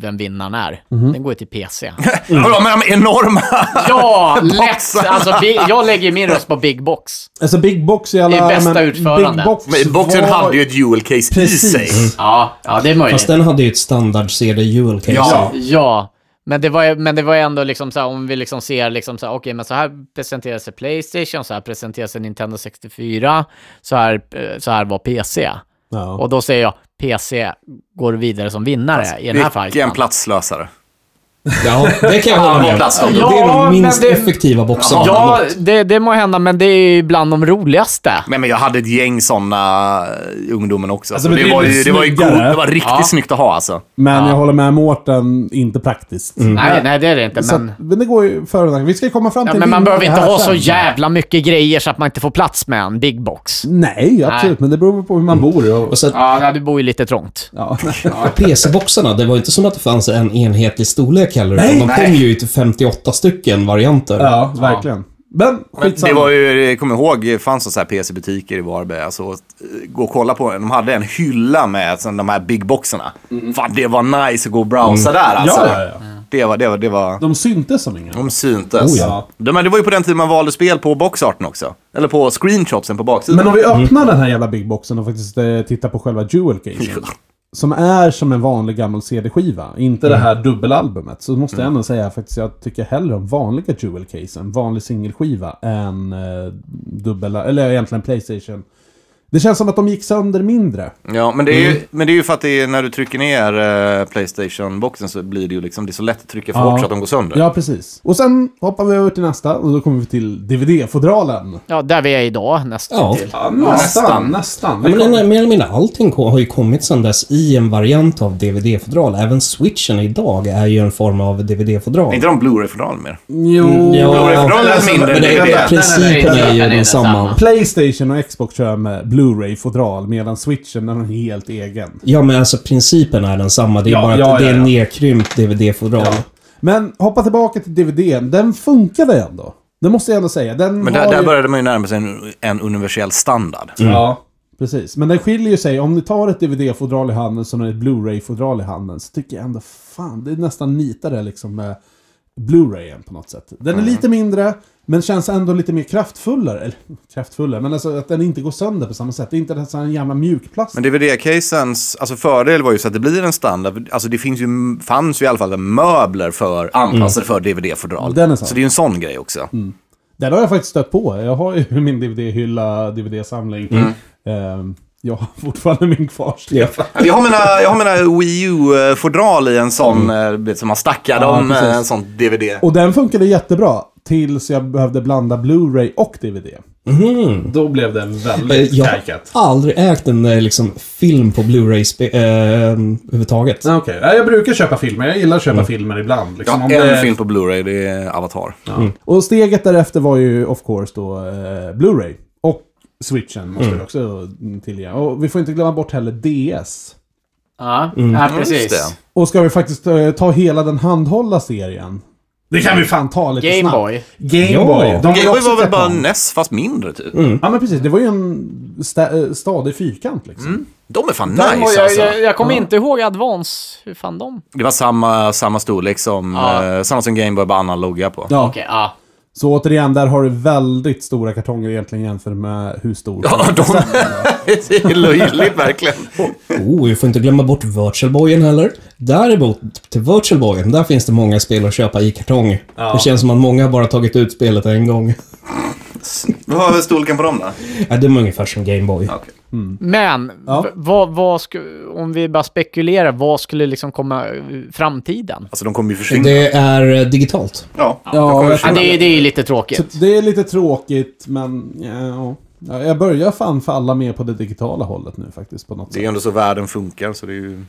vem vinnaren är. Den går ju till PC. Mm. Vadå, men de är enorma! ja, lätt! Alltså, vi, jag lägger ju min röst på Big Box. Alltså Big Box i alla... I bästa men utförande. Big Box Men boxen var- hade ju ett dual case i Precis. Mm. sig. Mm. Ja, ja det är möjligt. Fast den hade ju ett standard CD Jewel case. Ja. Ja, men det var, men det var ändå liksom så här, om vi liksom ser liksom så här, okej, men så här presenteras sig Playstation, så här presenteras sig Nintendo 64, så här, eh, så här var PC. Ja. Och då säger jag, PC går vidare som vinnare i den här Vilken fighten. platslösare. Ja, det kan jag hålla vad med om. plast Det de- är Ja, de men minst det- effektiva boxarna. Ja, det, det må hända, men det är ju bland de roligaste. Men, men jag hade ett gäng sådana i ungdomen också. Alltså, så men det, det är var ju ju, det, var ju god, snyggare. det var riktigt snyggt att ha alltså. Men jag håller med Mårten, inte praktiskt. Nej, nej, det är det inte, Så, men... men... men det går ju för och nackdelar. Vi ska komma fram Ja, till men man vinnare behöver inte här ha sen. så jävla mycket grejer så att man inte får plats med en big box. Nej, absolut. Men det beror väl på hur man bor. Mm. Och... Och så att Ja, nej, du bor ju lite trångt. Ja. PC-boxarna, det var inte som att det fanns en enhetlig storlek heller. Nej, utan de kom ju i till 58 stycken varianter. ja, verkligen. Men Men skitsamma. det var ju, jag kommer ihåg, det fanns så här PC-butiker i Varberg. Alltså, eh, gå och kolla på, de hade en hylla med sån- de här big boxarna. Fan, det var nice att gå och browsa där alltså. Mm. Ja, ja, ja. Det var, det var, det var... De syntes som inga. De syntes. Oh, ja. de, men det var ju på den tiden man valde spel på boxarten också. Eller på screenshotsen på baksidan. Men om vi öppnar den här jävla big boxen och faktiskt eh, tittar på själva jewel casen. Som är som en vanlig gammal CD-skiva. Inte det här dubbelalbumet. Så måste jag ändå säga faktiskt jag tycker hellre om vanliga jewel casen. Vanlig singelskiva än eh, dubbel... Eller egentligen Playstation. Det känns som att de gick sönder mindre. Ja, men det, är ju, Mm. men det är ju för att det är, när du trycker ner eh, Playstation-boxen så blir det ju liksom, det är så lätt att trycka för Ja. hårt så att de går sönder. Ja, precis. Och sen hoppar vi över till nästa och då kommer vi till DVD-fodralen. Ja, där vi är idag nästan Ja. till. Ja, nästan, nästan. Ja, men en- mer eller mindre allting ko- har ju kommit sedan dess i en variant av DVD-fodral. Även switchen idag är ju en form av Är DVD-fodral. inte de Blu-ray-fodral mer? Jo... Blu-ray-fodral är mindre. men det, än DVD. principen är ju Den är densamma. densamma. Playstation och Xbox kör med Blu-ray-fodral medan switchen den har en helt egen. Ja, men alltså principen är densamma. Det är Ja, bara att ja, det är ja, ja. en nerkrympt DVD-fodral. Men hoppa tillbaka till DVDn. Den funkade ändå. Det måste jag ändå säga. Den Men har där, Mm. där ju... började man ju närma sig en, en universell standard. Ja, precis. Men den skiljer ju sig. Om ni tar ett DVD-fodral i handen så har ni ett Blu-ray-fodral i handen. Så tycker jag ändå fan, det är nästan nitare liksom med Blu-rayen på något sätt. Den är Mm. lite mindre, men känns ändå lite mer kraftfullare. Eller kraftfullare, men alltså att den inte går sönder på samma sätt. Det är inte den här jävla mjukplast. Men DVD-casens alltså fördel var ju så att det blir en standard. Alltså det finns ju, fanns ju i alla fall möbler för, anpassade för DVD-fodral. Mm. Den är Mm. sant. så det är ju en sån grej också. Den har jag faktiskt stött på. Jag har ju min DVD-hylla, DVD-samling. Mm. Ehm, jag har fortfarande min kvar. Stefan. Jag har mina, jag har mina Wii U-fodral i en sån, eh, du vet, som man stackar dem, Mm. precis. eh, en sån DVD. Och den funkade jättebra. Tills jag behövde blanda Blu-ray och DVD. Mm. Då blev den Eh, väldigt Jag har aldrig ägt en eh, liksom, film på Blu-ray spe- eh, överhuvudtaget. Ah, Okej, Nej, jag brukar köpa filmer. Jag gillar att köpa filmer ibland. Jag Liksom, har om Mm. en det- film på Blu-ray, det är Avatar. Och steget därefter var ju of course då eh, Blu-ray. Och switchen måste Mm. vi också tillägga. Och vi får inte glömma bort heller DS. Ja, ja precis. Just Och ska vi faktiskt eh, ta hela den handhålla serien? Det kan vi fan ta lite snabbt. Gameboy. Gameboy. Ja. De ju Gameboy också var väl sett bara dem. NES fast mindre typ. Ja men precis, det var ju en sta- eh, stadig fyrkant liksom. Mm. De är fan Gameboy, nice jag, alltså. jag, jag kommer inte ihåg Advance. Hur fan de? Det var samma, samma storlek som, Ja. eh, samma som Gameboy, bara analoga på. Ja. Okej, ja. Så återigen, där har du väldigt stora kartonger egentligen jämfört med hur stor Ja, de- kassetten var. det är löjligt verkligen. Oh, vi får inte glömma bort Virtual Boyen heller. Däremot, till Virtual Boyen, där finns det många spel att köpa i kartong. Det känns som att många bara tagit ut spelet en gång. Vad är storleken på dem då? Ja, det är ungefär som Gameboy. Ja, okej. Men, Ja. v- vad, vad sku, om vi bara spekulerar, vad skulle liksom komma eh, framtiden? Alltså de kommer ju försvinna. Det är eh, digitalt. Ja, de Ja, kommer jag Ja, försvinna. det, är- det är ju lite tråkigt. Så det är lite tråkigt, men ja, ja, jag börjar fan falla mer på det digitala hållet nu faktiskt på något Det är ju sätt. ändå så världen funkar, så det är ju...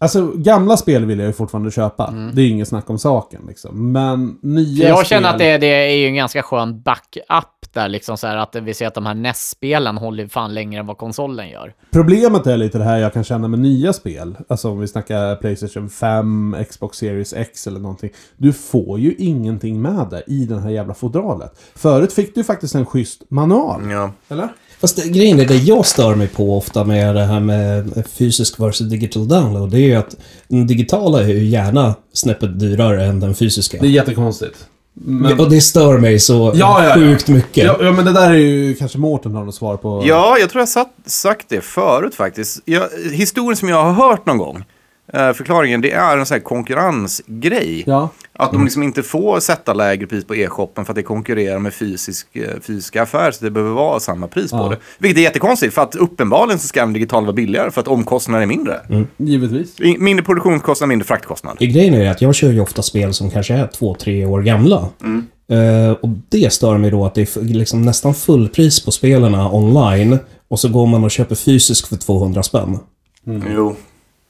Alltså gamla spel vill jag ju fortfarande köpa. Det är ju inget snack om saken liksom. Men nya Mm. Jag känner spel- att det, det är ju en ganska skön backup där, liksom så här att vi ser att de här NES-spelen håller ju fan längre än vad konsolen gör. Problemet är lite det här jag kan känna med nya spel. Alltså om vi snackar Playstation 5, Xbox Series X eller någonting. Du får ju ingenting med dig i den här jävla fodralet. Förut fick du faktiskt en schysst manual. Mm. Ja. Eller? Fast det, grejen är, det jag stör mig på ofta med det här med fysisk versus digital download, det är ju att den digitala är ju gärna snäppet dyrare än den fysiska. är jättekonstigt. Men... Och det stör mig så Ja, ja, ja. sjukt mycket. Ja, ja, men det där är ju kanske Mårten har något svar på. Ja, jag tror jag satt, sagt det förut faktiskt. Jag, historien som jag har hört någon gång, eh, förklaringen, det är en sån här konkurrensgrej. Ja. Att de liksom inte får sätta lägre pris på e-shoppen för att det konkurrerar med fysisk, eh, fysiska affärer så det behöver vara samma pris på Ja. det. Vilket är jättekonstigt för att uppenbarligen så ska den digitala vara billigare för att omkostnaden är mindre. Givetvis. I- Mindre produktionskostnad, mindre fraktkostnad. Grejen är att jag kör ju ofta spel som kanske är två, tre år gamla. Mm. Eh, och det stör mig då att det är f- liksom nästan fullpris på spelarna online och så går man och köper fysisk för 200 spänn. Jo.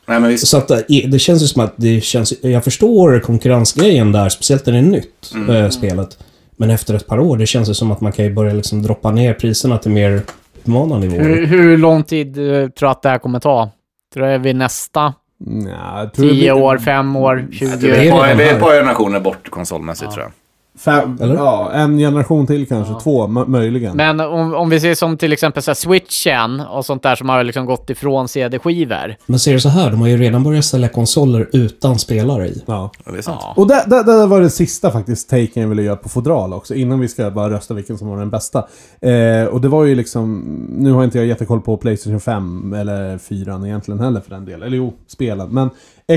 Nej men visst. Så att eh, det känns ju som att det känns... Jag förstår konkurrensgrejen där, speciellt när det är nytt, Mm. eh, spelet. Men efter ett par år, det känns ju som att man kan ju börja liksom droppa ner priserna till mer humana nivåer. Mm. Hur, hur lång tid eh, tror du att det här kommer ta? Tror du det är vid nästa? Nja, jag tror det 10 blir- år, 5 år, Det är 20 det ett är år? par- den det är här. ett par generationer bort konsolmässigt tror jag. Fem, Eller? ja, en generation till kanske. Två, mö- möjligen. Men om, om vi ser som till exempel så här switchen och sånt där som har liksom gått ifrån CD-skivor. Men ser du så här, de har ju redan börjat sälja konsoler utan spelare i. Ja. Ja, det är sant. Ja. Och det, det, det var det sista faktiskt taken jag ville göra på fodral också, innan vi ska bara rösta vilken som var den bästa. Eh, och det var ju liksom, nu har inte jag jättekoll på Playstation 5 eller 4 egentligen heller för den delen. Eller jo, spelen. Men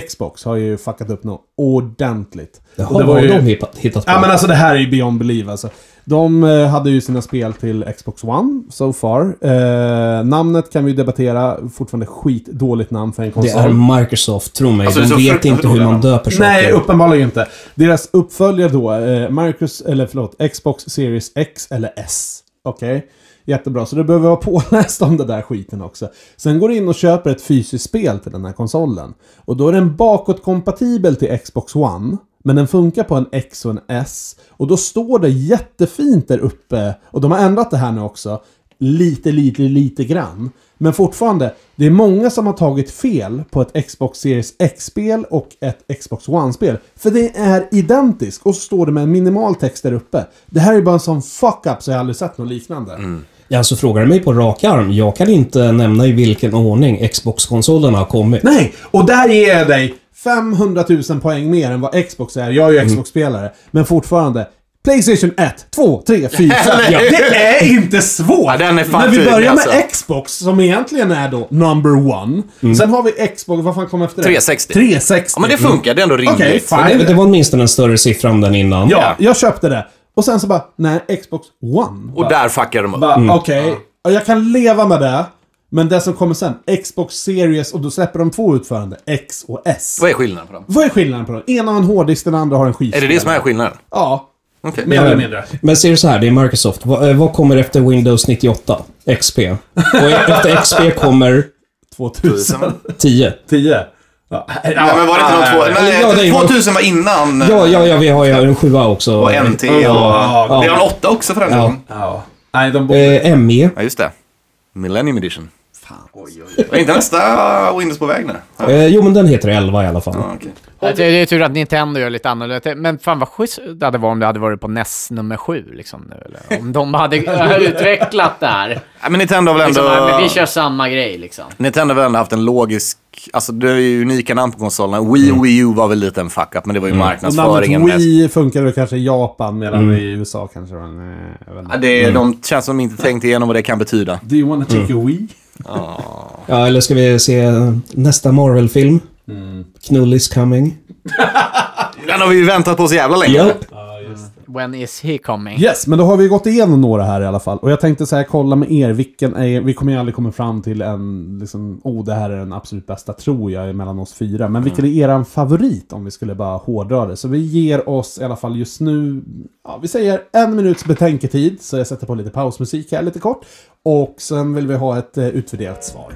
Xbox har ju fuckat upp något ordentligt. Det Och har var ju- de hittat- hittat på. Ja men alltså det här är ju beyond belief alltså. De eh, hade ju sina spel till Xbox One, so far. Eh, namnet kan vi ju debattera, fortfarande skitdåligt namn för en Det konsol. är Microsoft, tro mig. Alltså, det är de så vet fruktansvärt inte hur man dåliga. döper saker. Nej, uppenbarligen inte. Deras uppföljare då, eh, Marcus, eller förlåt, Xbox Series X eller S. Okej? Jättebra, så du behöver vara påläst om den där skiten också. Sen går du in och köper ett fysiskt spel till den här konsolen. Och då är den bakåtkompatibel till Xbox One. Men den funkar på en X och en S. Och då står det jättefint där uppe, och de har ändrat det här nu också, lite, lite, lite grann. Men fortfarande, det är många som har tagit fel på ett Xbox Series X-spel och ett Xbox One-spel. För det är identiskt och så står det med en minimal text där uppe. Det här är bara en sån fuck-up så jag har aldrig sett något liknande. Ja, alltså frågar du mig på rak arm, jag kan inte nämna i vilken ordning Xbox-konsolerna har kommit. Nej! Och där ger jag dig 500 000 poäng mer än vad Xbox är. Jag är Mm. ju Xbox-spelare. Men fortfarande. Playstation 1, 2, 3, 4, 5. Eller hur? Det är inte svårt! Ja, den är fan När vi tydlig, börjar med alltså. Xbox, som egentligen är då number one. Sen har vi Xbox, vad fan kom efter det? 360. 360. Ja men det funkar, det är ändå rimligt. Okej, Det, fine. det var åtminstone en större siffra än den innan. Ja, jag köpte det. Och sen så bara, nej, Xbox One. Och där fuckar de upp. Bara, Okej, ja. jag kan leva med det. Men det som kommer sen, Xbox Series, och då släpper de två utförande, X och S. Vad är skillnaden på dem? Vad är skillnaden på dem? Ena har en hårddisk, den andra har en Är det skivspelare. det som är skillnaden? Ja. Okej. Mer eller mindre. Eh, Men ser du så här, det är Microsoft. Vad, eh, vad kommer efter Windows 98? XP. Och e- efter XP kommer 2010. 10. Ja, Ja, men var det inte de två? Ja, ja, det är- Nej, 2000 var innan. Ja, ja, ja, vi har ju en 7 också. Och E. NT och... Ja. Det är en 8 också för den Ja. delen. Ja. Nej, de borde... Eh, ME. Ja, just det. Millennium Edition. Fan. Oj, oj, oj. Är inte nästa Windows på väg nu? Ja, Eh, jo, men den heter 11 i alla fall. okej. Det, Alltså, det är tur att Nintendo gör lite annorlunda. Men fan vad schysst det hade varit om det hade varit på NES nummer 7 liksom nu. Eller? Om de hade utvecklat det här. Ja, men Nintendo har väl Liksom, ändå... nej, men vi kör samma grej liksom. Nintendo har väl ändå haft en logisk Alltså det är ju unika namn på konsolerna. Wii Wii U var väl lite en fuck-up, men det var ju Och marknadsföringen. namnet mest. Mm. Wii funkar väl kanske i Japan medan i USA kanske var nej, jag vet Ja, inte. det, De Mm. känns som de inte tänkte igenom vad det kan betyda. Do you wanna Mm. take a Wii? Ja, eller ska vi se nästa Marvel-film? Knull is coming. Den har vi ju väntat på så jävla länge. Japp. When is he coming? Yes, men då har vi gått igenom några här i alla fall. Och jag tänkte så här, kolla med er, vilken är, vi kommer ju aldrig komma fram till en, liksom, oh det här är den absolut bästa tror jag mellan oss fyra. Men vilken Mm. är eran favorit om vi skulle bara hårdra det? Så vi ger oss i alla fall just nu, ja, vi säger en minuts betänketid. Så jag sätter på lite pausmusik här lite kort. Och sen vill vi ha ett eh, utvärderat svar.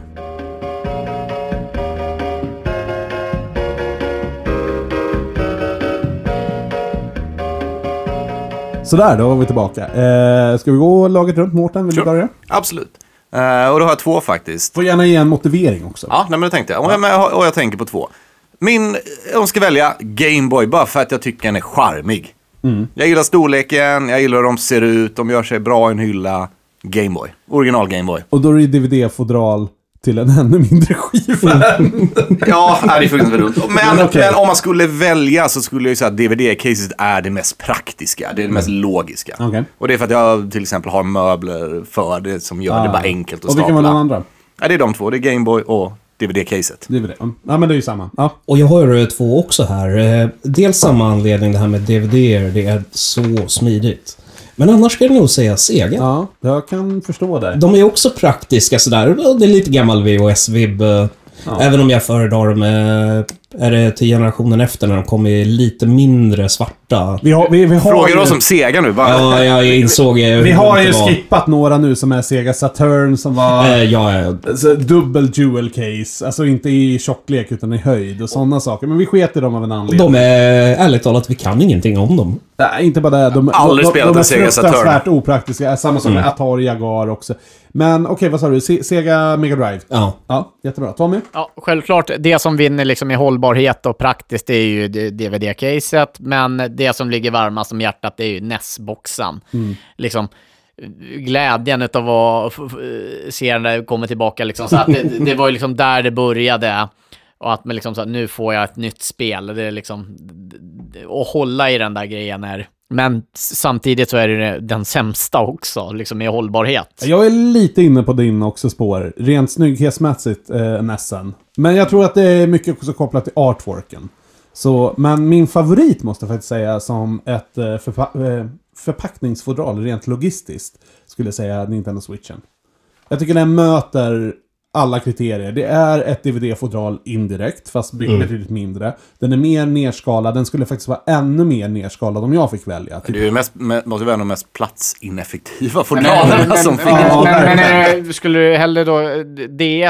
Sådär, då var vi tillbaka. Eh, ska vi gå laget runt? Mårten, vill Sure. du börja? Absolut. Eh, och då har jag två faktiskt. Får gärna ge en motivering också. Ja, nej, men det tänkte jag. Och jag, men jag har- och jag tänker på två. Min, om jag ska välja, Gameboy, bara för att jag tycker den är charmig. Jag gillar storleken, jag gillar hur de ser ut, de gör sig bra i en hylla. Gameboy. Original Gameboy. Och då är det ju DVD-fodral till en ännu mindre skiva. Ja, nej, det är fruktansvärt dumt. Men, Men okej. men om man skulle välja så skulle jag ju säga att DVD-caset är det mest praktiska. Det är det mest logiska. Okej. Och det är för att jag till exempel har möbler för det som gör det bara enkelt att Och vilken stapla. var den andra? Ja, det är de två. Det är Gameboy och DVD-caset. DVD. Mm. Ja, men det är ju samma. Ja. Och jag har ju två också här. Eh, Dels samma anledning, det här med DVD-er. Det är så smidigt. Men annars skulle jag nog säga Sega. ja, jag kan förstå det. De är också praktiska sådär. Ja, Det är lite gammal VHS-vibb. eh, Även om jag föredrar dem, eh, är det till generationen efter när de kommer i lite mindre svarta. Vi har, vi, vi har Frågar ju, oss om Sega nu, va? Ja, jag insåg ju hur vi har ju det var. skippat några nu som är Sega Saturn som var... Eh, Ja, ja, Alltså, dubbel jewel case. Alltså inte i tjocklek utan i höjd och sådana saker. Men vi sket i dem av en anledning. De är, ärligt talat, vi kan ingenting om dem. Nej, inte bara det. De, Aldrig de, de, spelat de är en Sega Saturn. Mm. fruktansvärt opraktiska. Samma som med Atari Jaguar också. Men okej, vad sa du? Se, Sega Mega Drive? Ja. Ja, jättebra. Tommy? Ja, självklart. Det som vinner liksom i hållbarhet och praktiskt det är ju d- DVD-caset. Men det som ligger varmast om hjärtat det är ju NES-boxen. Liksom, glädjen av att f- f- se den där komma tillbaka. Liksom. Så att det, det var ju liksom där det började. Och att man liksom så att nu får jag ett nytt spel. Det är liksom, d- d- och hålla i den där grejen är... Men s- samtidigt så är det den sämsta också, liksom i hållbarhet. Jag är lite inne på din också spår. Rent snygghetsmässigt, eh, nästan. Men jag tror att det är mycket också kopplat till artworken. Så, men min favorit måste jag faktiskt säga som ett eh, förpa- eh, förpackningsfodral rent logistiskt. Skulle jag säga Nintendo Switchen. Jag tycker den möter alla kriterier. Det är ett DVD-fodral indirekt, fast be- betydligt mindre. Den är mer nerskalad. Den skulle faktiskt vara ännu mer nerskalad om jag fick välja. Det är ju mest, me- måste vara en av de mest platsineffektiva Men, fodralerna men, som men, finns. Ja, men, men eh, skulle du hellre då eh,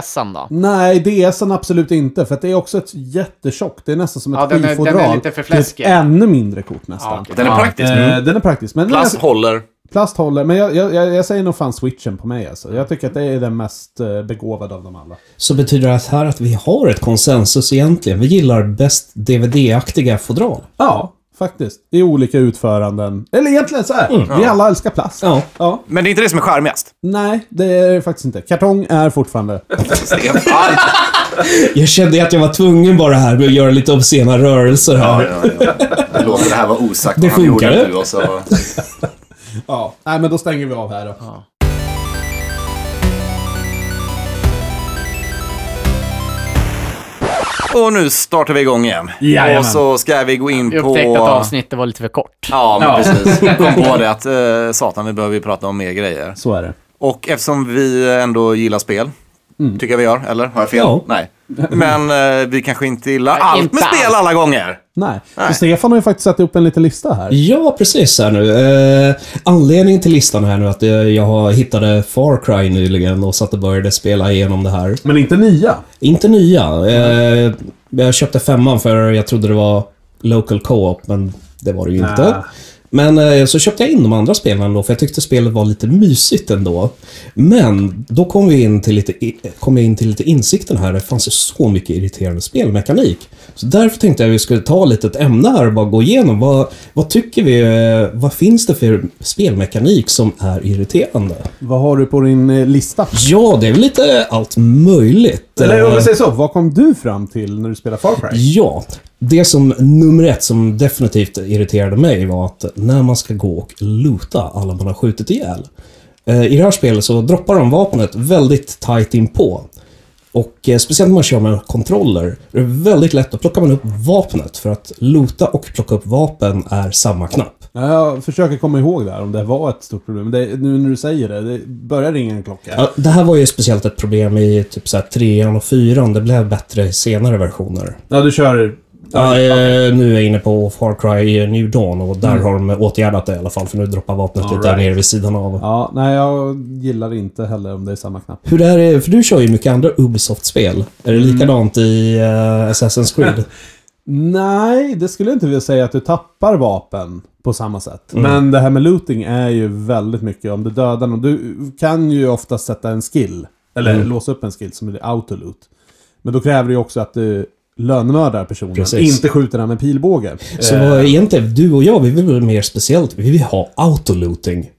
DSen då? Nej, DSen absolut inte. För att det är också ett jättetjockt. Det är nästan som ett Ja, den är- den är skivfodral. lite för till ett fläskig. ännu mindre kort nästan. Ja, okej. Den är praktisk. Eh, Mm. den är praktisk. Men Plast plast, håller. plast håller. Men jag, jag, jag, jag säger nog fan switchen på mig alltså. Jag tycker att det är den mest eh, begåvade av dem alla. Så betyder det här att vi har ett konsensus egentligen. Vi gillar bäst DVD-aktiga fodral. Ja, faktiskt. I olika utföranden. Eller egentligen så här. Vi alla älskar plast. Mm. Ja. ja. Men det är inte det som är charmigast. Nej, det är det faktiskt inte. Kartong är fortfarande... Stefan! Jag kände att jag var tvungen bara här med att göra lite obscena rörelser här. Jag låter det här vara osagt. Det funkar. Och så. ja. Nej, men då stänger vi av här då. Och nu startar vi igång igen. Jajamän. Och så ska vi gå in Jag på... upptäckte att avsnittet var lite för kort. Ja, men precis. Kom på det att eh, satan, vi behöver ju prata om mer grejer. Så är det. Och eftersom vi ändå gillar spel, tycker jag vi gör, eller? Har jag fel? Mm. Ja. Nej. Men eh, vi kanske inte gillar allt inte med spel allt. alla gånger. Nej. Nej. Så Stefan har ju faktiskt satt upp en liten lista här. Ja, precis här nu. Eh, anledningen till listan här nu är att eh, jag har- hittade Far Cry nyligen och satt och började spela igenom det här. Men inte nia. Inte nya. Eh, Ah. jag köpte femman för jag trodde det var Local Co-op, men det var det ju inte. Men eh, så köpte jag in de andra spelen då, för jag tyckte spelet var lite mysigt ändå. Men då kom, vi in till lite, i- kom jag in till lite insikten här. Det fanns ju så mycket irriterande spelmekanik. Så därför tänkte jag att vi skulle ta lite ett ämne här och bara gå igenom. Vad, vad tycker vi? eh, Vad finns det för spelmekanik som är irriterande? Vad har du på din eh, lista? Ja, det är väl lite allt möjligt. Eller om Eh, vi säger så, vad kom du fram till när du spelade Far Cry? Ja, det som nummer ett som definitivt irriterade mig var att när man ska gå och loota alla man har skjutit ihjäl. eh, I det här spelet så droppar de vapnet väldigt tight inpå. Och eh, speciellt när man kör med kontroller, det är väldigt lätt, att plocka man upp vapnet för att loota och plocka upp vapen är samma knapp. Ja, Jag försöker komma ihåg där om det var ett stort problem. Det, nu när du säger det, det börjar ringa en klocka. Ja, Det här var ju speciellt ett problem i typ så här trean och fyran, det blev bättre i senare versioner. Ja, du kör... Ja, eh, nu är jag inne på Far Cry eh, New Dawn och där har de åtgärdat det i alla fall för nu droppar vapnet All ut där right. nere vid sidan av. Ja, nej jag gillar inte heller om det är samma knapp. Hur är det, för du kör ju mycket andra Ubisoft-spel. Är det likadant i eh, Assassin's Creed? Nej, det skulle jag inte vilja säga att du tappar vapen på samma sätt. Men det här med looting är ju väldigt mycket om du dödar någon. Du kan ju ofta sätta en skill, eller låsa upp en skill som är autoloot. Men då kräver det ju också att du lönnmördar personen, Precis. inte skjuter den med pilbåge. Så vad är egentligen, du och jag, vi vill väl mer speciellt, vi vill ha autolooting.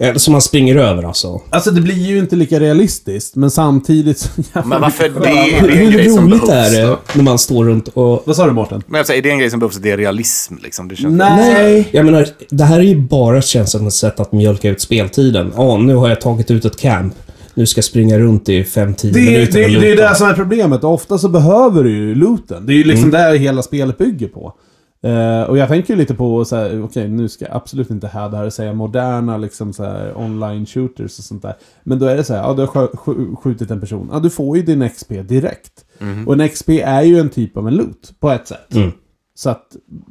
Eh, Som man springer över alltså. Alltså det blir ju inte lika realistiskt, men samtidigt så jävla Men varför mycket det? skönare. är en grej Hur som roligt behövs, är det då? när man står runt och... Vad sa du Mårten? Men jag säger, är det en grej som behövs? Det är realism liksom. Det känns Nej, jag menar, det här är ju bara känns som ett sätt att mjölka ut speltiden. Ja, nu har jag tagit ut ett camp. Nu ska jag springa runt i 5-10 Det, är- minuter det, och är- det är loota. det som är problemet. Ofta så behöver du ju looten. Det är ju Mm. liksom det hela spelet bygger på. Eh, och jag tänker ju lite på så här, okej nu ska jag absolut inte här det här och säga moderna liksom så här, online shooters och sånt där. Men då är det så här, ja du har skö- skj- skjutit en person. Ja du får ju din XP direkt. Mm. Och en XP är ju en typ av en loot på ett sätt. Mm. Så att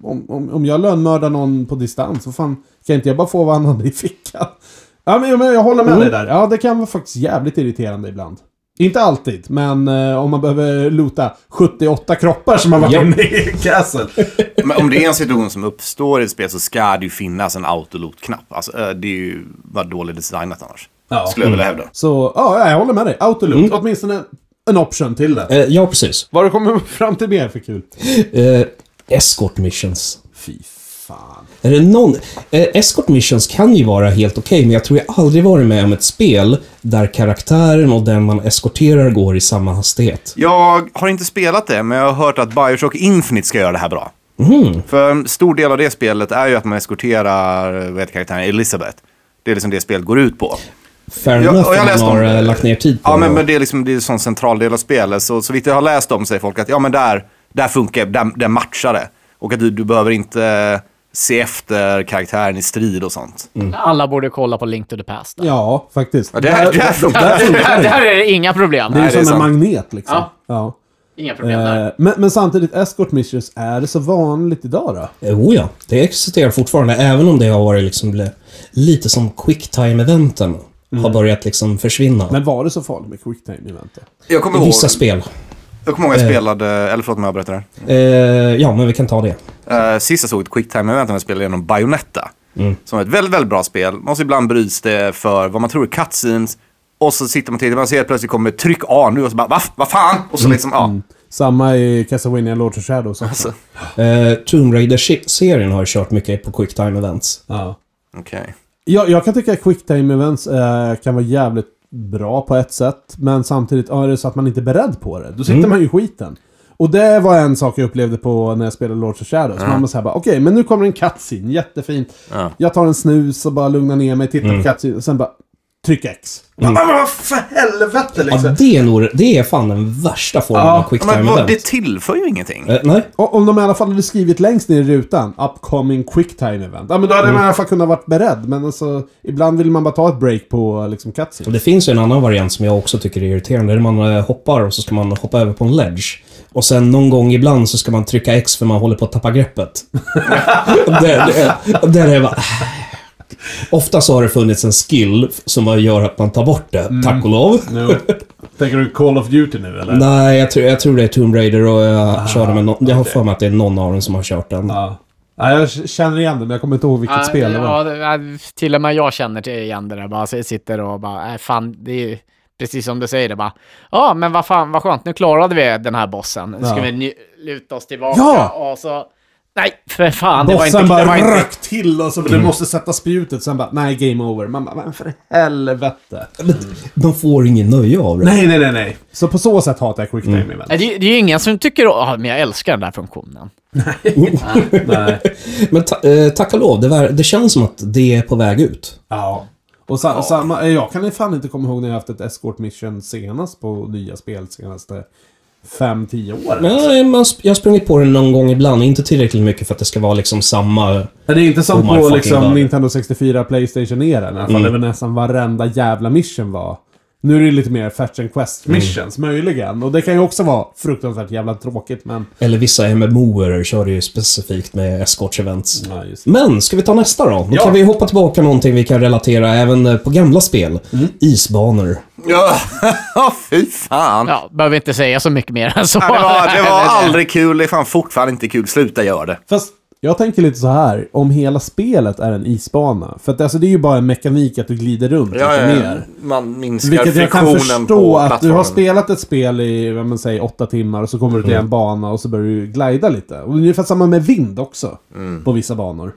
om, om, om jag lönnmördar någon på distans, så fan kan inte jag bara få vad han hade i fickan? Ja, men, men jag håller med dig där. Ja, det kan vara faktiskt jävligt irriterande ibland. Inte alltid, men eh, om man behöver loota 78 kroppar som har varit Ja. inne i castle. Men om det är en situation som uppstår i ett spel så ska det ju finnas en autoloot-knapp. Alltså, eh, det är ju bara dåligt designat annars. Ja. Skulle jag vilja hävda. Så, ja, jag håller med dig. Autoloot, åtminstone en option till det. Eh, Ja, precis. Vad du kommer fram till mer för kul? Eh, escort missions. Fy fan. Är det någon... Eh, escort missions kan ju vara helt okej, men jag tror jag aldrig varit med om ett spel där karaktären och den man eskorterar går i samma hastighet. Jag har inte spelat det, men jag har hört att Bioshock Infinite ska göra det här bra. För en stor del av det spelet är ju att man eskorterar vad heter karaktären Elizabeth. Det är liksom det spelet går ut på. Fair Ja, enough och jag om man läste om har det. eh, lagt ner tid på Ja, det. men, men det är liksom det är en sån central del av spelet. Så, så vitt jag har läst om säger folk att ja, men där, där funkar det, där, där matchar det. Och att du, du behöver inte eh, se efter karaktären i strid och sånt. Mm. Alla borde kolla på Link to the Past. då. Mm. Ja, faktiskt. Ja, det här- det här funkar. funkar det. Där är det inga problem. Det är Nej, ju det är som en sant. magnet liksom. Ja. ja. Inga problem där. Eh, men, men samtidigt, escort missions, är det så vanligt idag då? Eh, Oh ja, det existerar fortfarande, även om det har varit liksom le- lite som quick time-eventen. Mm. Har börjat liksom försvinna. Men var det så farligt med quick time eventet? Jag kommer I ihåg, vissa Eh. spel. jag, kommer ihåg jag spelade, eller förlåt om jag avbryter där. Eh, ja, men vi kan ta det. Uh, sist jag såg ett quicktime-event när jag spelade igenom Bayonetta. Mm. Som är ett väldigt, väldigt bra spel. Man måste ibland bryts det för vad man tror är cutscenes. Och så sitter man och tittar, man ser plötsligt kommer det, tryck A nu och så bara va? Vad fan? Och Mm. så liksom, ja. Samma i Castlevania Lords of Shadows också. Alltså, Eh, Tomb Raider-serien har ju kört mycket på quick time-events. Ja. Okej. Jag, jag kan tycka att quick time events eh, kan vara jävligt bra på ett sätt. Men samtidigt, ja, är det så att man inte är beredd på det, då sitter Mm. man ju i skiten. Och det var en sak jag upplevde på när jag spelade Lords of Shadows. Man var såhär bara, okej, men nu kommer en cutscene, jättefint. Ja. Mm. Jag tar en snus och bara lugnar ner mig, tittar på cutscene och sen bara, tryck X. Men vad för helvete liksom." Ja, det är nog, det är fan den värsta formen Ja, av quick Men vad, time-event. det tillför ju ingenting. Eh, nej. Och om de i alla fall hade skrivit längst ner i rutan, upcoming quick time event. Ja men då hade man i alla fall kunnat varit beredd. Men alltså, ibland vill man bara ta ett break på liksom Och cutscene. det finns ju en annan variant som jag också tycker är irriterande. Där man eh, hoppar och så ska man hoppa över på en ledge. Och sen någon gång ibland så ska man trycka X för man håller på att tappa greppet. Och där, där- där är jag bara... "Ah." Ofta så har det funnits en skill som gör att man tar bort det, tack Mm. och lov. Tänker du Call of Duty nu eller? Nej, jag tror, jag tror det är Tomb Raider och jag körde med någon. Jag har för mig att det är någon av dem som har kört den. Ja. Ja, jag känner igen det, men jag kommer inte ihåg vilket Ja, spel det var. ja, det- ja, till och med jag känner till igen det där. Bara, så jag sitter och bara, äh, fan, det är ju precis som du säger det bara. Ja, men vad fan, vad skönt, nu klarade vi den här bossen. Nu ska Ja. vi nu- luta oss tillbaka Ja! och så... Nej, för fan, det var inte... Bossen det var bara inte rök till och så du måste sätta spjutet. Sen bara, nej, game over. Man bara, men för helvete. De får ingen nöje av det. Nej, nej, nej, nej. Mm. Så på så sätt hatar jag Quick Time Event. Nej, det, det är ju ingen som tycker om... Ah, men jag älskar den där funktionen. Nej. Men ta, eh, tack och lov, det, var, det känns som att det är på väg ut. Ja. Och sa, samma, eh, jag kan ju fan inte komma ihåg när jag haft ett escort mission senast på nya spel senaste 5-10 åren. Nej, man, sp- jag har sprungit på det någon gång ibland, inte tillräckligt mycket för att det ska vara liksom samma... Men det är inte som Oh my på fucking liksom God. Mm. Nintendo 64, Playstation eran i alla fall. Det var nästan varenda jävla mission var. Nu är det lite mer fetch and quest missions, möjligen. Och det kan ju också vara fruktansvärt jävla tråkigt, men... Eller vissa MMOer kör ju specifikt med escorts events. Ja, just det. Men, ska vi ta nästa då? Då Mm. Ja. kan vi hoppa tillbaka någonting vi kan relatera även eh, på gamla spel. Mm. Isbanor. Ja, fy fan. Ja, behöver inte säga så mycket mer än så. Ja, Det var, det var aldrig kul, det är fan fortfarande inte kul. Sluta göra det. Fast jag tänker lite så här, om hela spelet är en isbana. För att alltså, det är ju bara en mekanik att du glider runt lite mer. Man minskar Vilket jag kan friktionen förstå på att du har plattformen. spelat ett spel i, vad man säger, åtta timmar och så kommer du till Mm. en bana och så börjar du glida lite. Och det är ungefär samma med vind också. Mm. På vissa banor.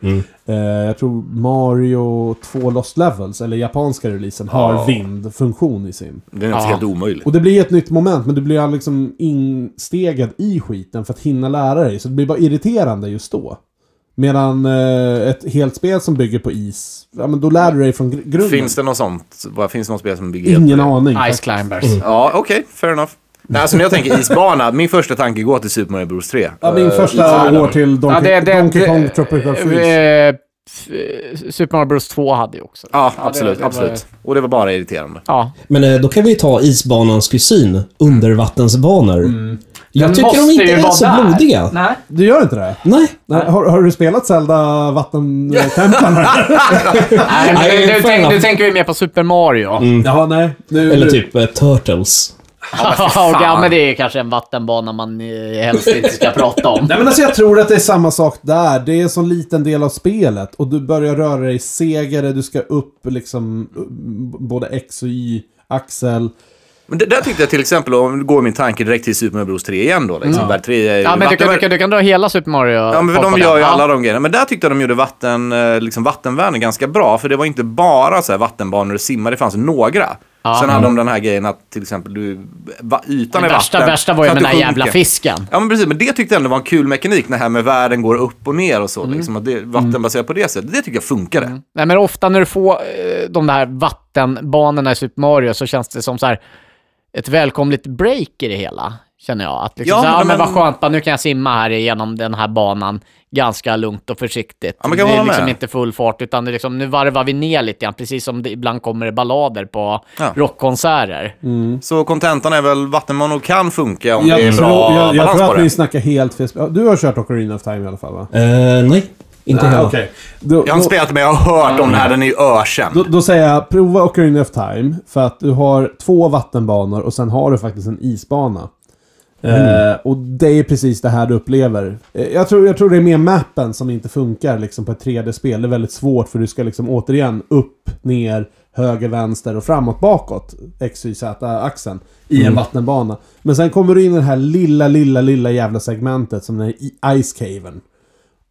Eh, jag tror Mario 2 Lost Levels, eller japanska releasen, har Ja. vindfunktion i sin. Det är något Ja. helt omöjligt. Och det blir ett nytt moment, men du blir aldrig liksom instegad i skiten för att hinna lära dig. Så det blir bara irriterande just då. Medan eh, ett helt spel som bygger på is, ja men då lär du dig från gr- grunden. Finns det något sånt? Vad- Finns det något spel som bygger helt- Ingen aning. Ice faktiskt. Climbers. Ja, okej. fair enough. Nej, alltså när jag tänker isbana, min första tanke går till Super Mario Bros 3. Ja, min Eh, första isbana. går till Donkey, Donkey Kong Mm. Tropical Freeze. eh, f- Super Mario Bros 2 hade ju också. Ja, det- absolut. det var- absolut. Och det var bara irriterande. Ja, Men eh, då kan vi ta isbanans kusin, undervattensbanor. Jag Mm. Den tycker de måste inte ju är vara så där. blodiga. nej. Du gör inte det? Nej. Nej. Har, har du spelat Zelda vattentemplarna? nej, Nej, nu, nu, fan. Mm. tänk, nu tänker vi mer på Super Mario. Mm. Jaha, nej. Nu, Eller typ eh, Turtles. Ja, och ja, men det är kanske en vattenbana man eh, helst inte ska prata om. Nej men alltså jag tror att det är samma sak där. Det är en sån liten del av spelet och du börjar röra dig segare, du ska upp liksom b- både X och Y-axel. Men det, där tyckte jag till exempel, om nu går min tanke direkt till Super Mario Bros 3 igen då. Liksom. Värld 3 är ju Ja, men du, vatten- kan, du, kan, du kan dra hela Super Mario. Ja, men för på- på de gör den. ju alla Ja. de grejerna. Men där tyckte jag de gjorde vatten, eh, liksom vattenvärlden ganska bra. För det var inte bara så här vattenbanor och simmar, det fanns några. Sen hade de den här grejen att till exempel du, va, ytan Mm. Det är värsta, vatten. värsta var så ju att den du där jävla sjunker. fisken. Ja men precis, men det tyckte jag ändå var en kul mekanik. Det här med världen går upp och ner och så. Mm. Liksom, att det, vatten baserat på det sättet. Det tycker jag funkade. Nej, men ofta när du får eh, de där vattenbanorna i Super Mario så känns det som så här ett välkomligt break i det hela, känner jag. Att liksom, Ja, så här, men ja, men de- vad skönt, bara, nu kan jag simma här igenom den här banan ganska lugnt och försiktigt. Ja, men det kan är hålla liksom med. inte full fart, utan det är liksom, nu varvar vi ner lite grann, precis som det ibland kommer det ballader på Ja. rockkonserter. Så kontentan är väl vattenbanor kan funka om det är Jag, tror, bra jag, jag balans tror på att ni det. snackar helt fel spel. Du har kört Ocarina of Time i alla fall va? Eh, nej, Ah, inte heller. Då, Jag har då, inte spelat det, men jag har hört om det här. Den är ju ökänd. då, då säger jag, prova Ocarina of Time. För att du har två vattenbanor och sen har du faktiskt en isbana. Eh, och det är precis det här du upplever. Eh, jag, tror, jag tror det är mer mappen som inte funkar liksom, på ett 3D-spel. Det är väldigt svårt för du ska liksom, återigen upp, ner, höger, vänster och framåt, bakåt. X, Y, Z-axeln. I en vattenbana. Men sen kommer du in i det här lilla, lilla, lilla jävla segmentet som är i Ice Caven.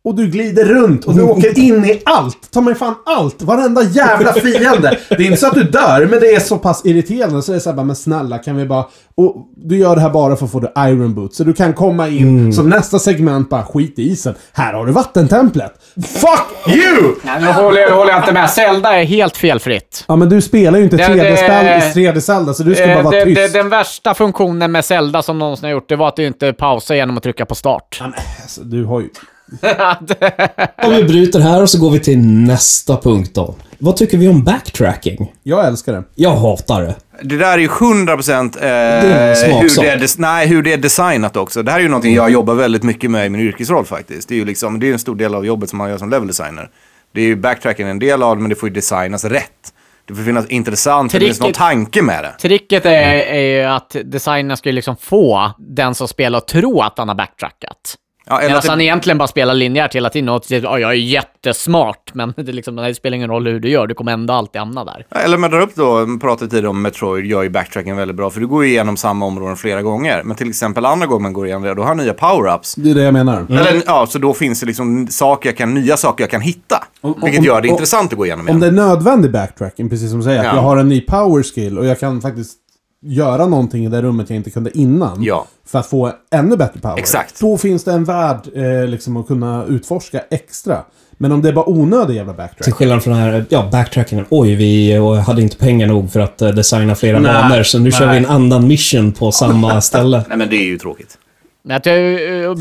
Och du glider runt och du åker in i allt. Ta mig fan allt. Varenda jävla fiende. Det är inte så att du dör, men det är så pass irriterande. Så det är så här, bara, men snälla kan vi bara... Och du gör det här bara för att få the iron boots. Så du kan komma in som nästa segment bara, skit i isen. Här har du vattentemplet. Fuck you! Nej, nu håller jag, inte med. Zelda är helt felfritt. Ja, men du spelar ju inte Det- 3D-spel- det- 3D-Zelda, så du ska bara Eh, vara det, tyst. det, den värsta funktionen med Zelda som någonsin har gjort, det var att du inte pausar genom att trycka på start. Alltså, du har ju... Om vi bryter här och så går vi till nästa punkt då. Vad tycker vi om backtracking? Jag älskar det. Jag hatar det. Det där är ju 100 procent eh, en hur, smaksak. det är des- nej, hur det är designat också. Det här är ju någonting jag jobbar väldigt mycket med i min yrkesroll faktiskt. Det är ju liksom, det är en stor del av jobbet som man gör som level designer. Det är ju backtracken en del av det, men det får ju designas rätt. Det får finnas intressant, det finns någon Tricket- tanke med det. Tricket är, är ju att designen ska ju liksom få den som spelar att tro att han har backtrackat. Ja, Medan eller att han det, egentligen bara spelar linjärt hela tiden och typ, ja, jag är jättesmart, men det, är liksom, det spelar ingen roll hur du gör, du kommer ändå alltid hamna där. ja, eller om jag drar upp då, pratade tidigare om Metroid, gör ju backtracken väldigt bra, för du går ju igenom samma områden flera gånger. Men till exempel andra gången man går igenom det, då har han nya power-ups. Det är det jag menar. Mm. Eller, ja, så då finns det liksom saker jag kan, nya saker jag kan hitta. Om- vilket om- gör det om- intressant att gå igenom Om igen. det är nödvändig backtracking, precis som du säger, att Ja. jag har en ny power skill och jag kan faktiskt göra någonting i det rummet jag inte kunde innan. Ja. För att få ännu bättre power. Exakt. Då finns det en värld eh, liksom, att kunna utforska extra. Men om det är bara onödig jävla Till Typ. backtrack. skillnad från den här, ja, backtrackingen. Oj, vi eh, hade inte pengar nog för att eh, designa flera Nej, banor, så nu kör vi nej. en annan mission på samma ställe. Nej, men det är ju tråkigt. Men att, eh,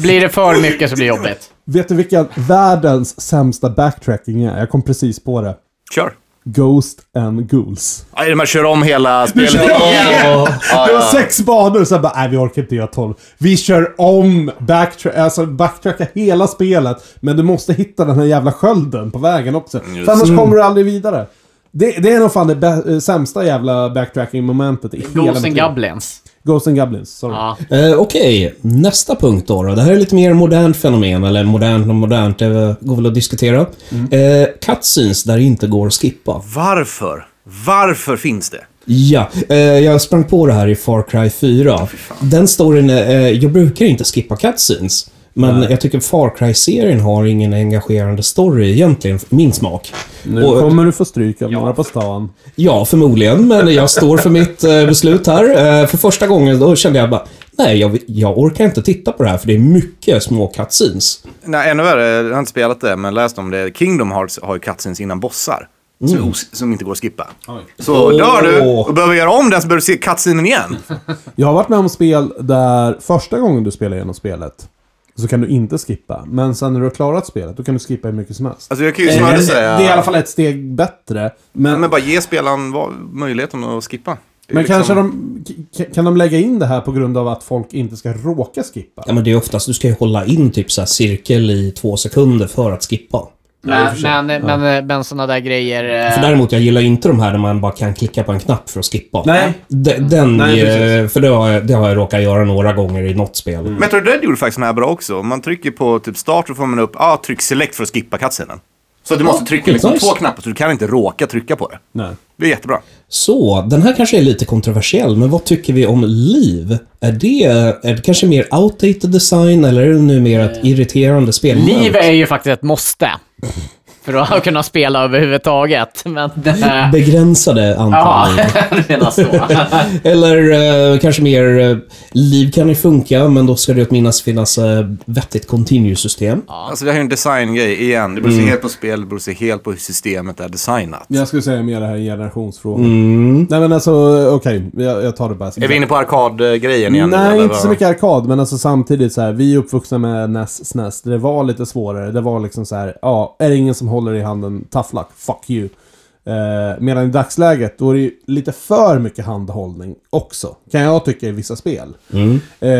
blir det för mycket så blir det jobbigt. Vet du vilken världens sämsta backtracking är? Jag kom precis på det. Kör. Ghost and Ghouls. Aj, man kör om hela spelet. Ja. Det var sex banor, sen bara nej vi orkar inte göra tolv. Vi kör om, backtrack, alltså backtracka hela spelet. Men du måste hitta den här jävla skölden på vägen också. Mm, För annars kommer du aldrig vidare. Det, det är nog fan det bä- eh, sämsta jävla backtracking-momentet i hela Ghost mitt and liv. Goblins. Ghost and Goblins, sorry. Ja. Eh, Okej, nästa punkt då, då. Det här är lite mer modernt fenomen, eller modernt och modernt, det går väl att diskutera. Eh, cutscenes där det inte går att skippa. Varför? Varför finns det? Ja, eh, jag sprang på det här i Far Cry 4. Den storyn, eh, jag brukar inte skippa cutscenes. Men jag tycker Far Cry-serien har ingen engagerande story egentligen, för min smak. Nu Och- kommer du få stryk av några på stan. Ja, förmodligen, men jag står för mitt eh, beslut här. Eh, För första gången då kände jag bara, nej, jag, jag orkar inte titta på det här för det är mycket små cutscenes. Nej, ännu värre, jag har inte spelat det, men läst om det. Kingdom Hearts har ju cutscenes innan bossar. Som, är os- som inte går att skippa. Så Åh. dör du och behöver göra om den så behöver du se cutscenen igen. Jag har varit med om spel där första gången du spelar igenom spelet så kan du inte skippa. Men sen när du har klarat spelet, då kan du skippa hur mycket som helst. Alltså jag kan ju Eh, det, snarare det säga... är i alla fall ett steg bättre. Men, Men bara ge spelaren va- möjligheten att skippa. Det är Men liksom- kanske de... k- Kan de lägga in det här på grund av att folk inte ska råka skippa? Ja, men det är oftast, du ska ju hålla in typ så här cirkel i två sekunder för att skippa. Men, men, men, men sådana där grejer... För eh, däremot, jag gillar inte de här där man bara kan klicka på en knapp för att skippa. Nej. De, den, Nej, eh, precis. Mm. för det har, jag, det har jag råkat göra några gånger i något spel. Metroid Dread gjorde faktiskt den här bra också. Om Man trycker på typ start så får man upp, ah, tryck select för att skippa cutscenen. Så du måste trycka liksom nice. två knappar så du kan inte råka trycka på det. Nej. Det är jättebra. Så, den här kanske är lite kontroversiell, men vad tycker vi om liv? Är det, är det kanske mer outdated design eller är det numera ett irriterande spel? Eh, Liv är ju faktiskt ett måste. För att kunna spela överhuvudtaget. Men... eh, Begränsade Ja, antal liv. du menar så. Eller eh, kanske mer, eh, liv kan ju funka, men då ska det åtminstone finnas eh, vettigt continue-system. Alltså det här är ju en designgrej igen. Det beror Mm. sig helt på spel, det beror sig helt på hur systemet är designat. Jag skulle säga mer det här är en generationsfråga. Nej men alltså, okej. jag, jag tar det bara. Mm. Är vi inne på arkadgrejen igen? nu, Nej, eller inte så vad? mycket arkad. Men alltså samtidigt så här, vi är uppvuxna med NES, SNES. Det var lite svårare. Det var liksom så här, ja, är det ingen som håller i handen, tough luck, fuck you. Eh, medan i dagsläget, då är det ju lite för mycket handhållning också. Kan jag tycka i vissa spel. Eh,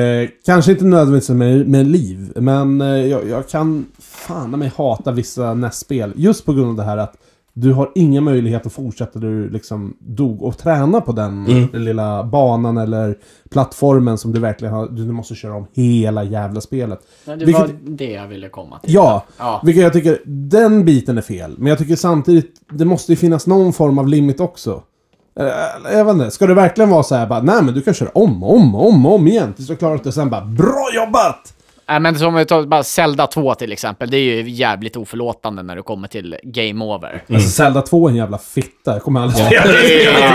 kanske inte nödvändigtvis med, med liv, men eh, jag, jag kan fan i mig hata vissa NES-spel. Just på grund av det här att du har inga möjlighet att fortsätta där du liksom dog och träna på den lilla banan eller plattformen som du verkligen har. Du måste köra om hela jävla spelet. Men det Vilket- var det jag ville komma till. Ja, Ja. vilket jag tycker, den biten är fel. Men jag tycker samtidigt, det måste ju finnas någon form av limit också. Eh, Jag vet inte, ska det verkligen vara så här bara, nej men du kan köra om, om, om, om igen tills du har klarat det sen bara, bra jobbat! Nej, men som vi tar bara Zelda 2 till exempel, det är ju jävligt oförlåtande när du kommer till game over. Alltså Zelda 2 är en jävla fitta, jag kommer aldrig spela det.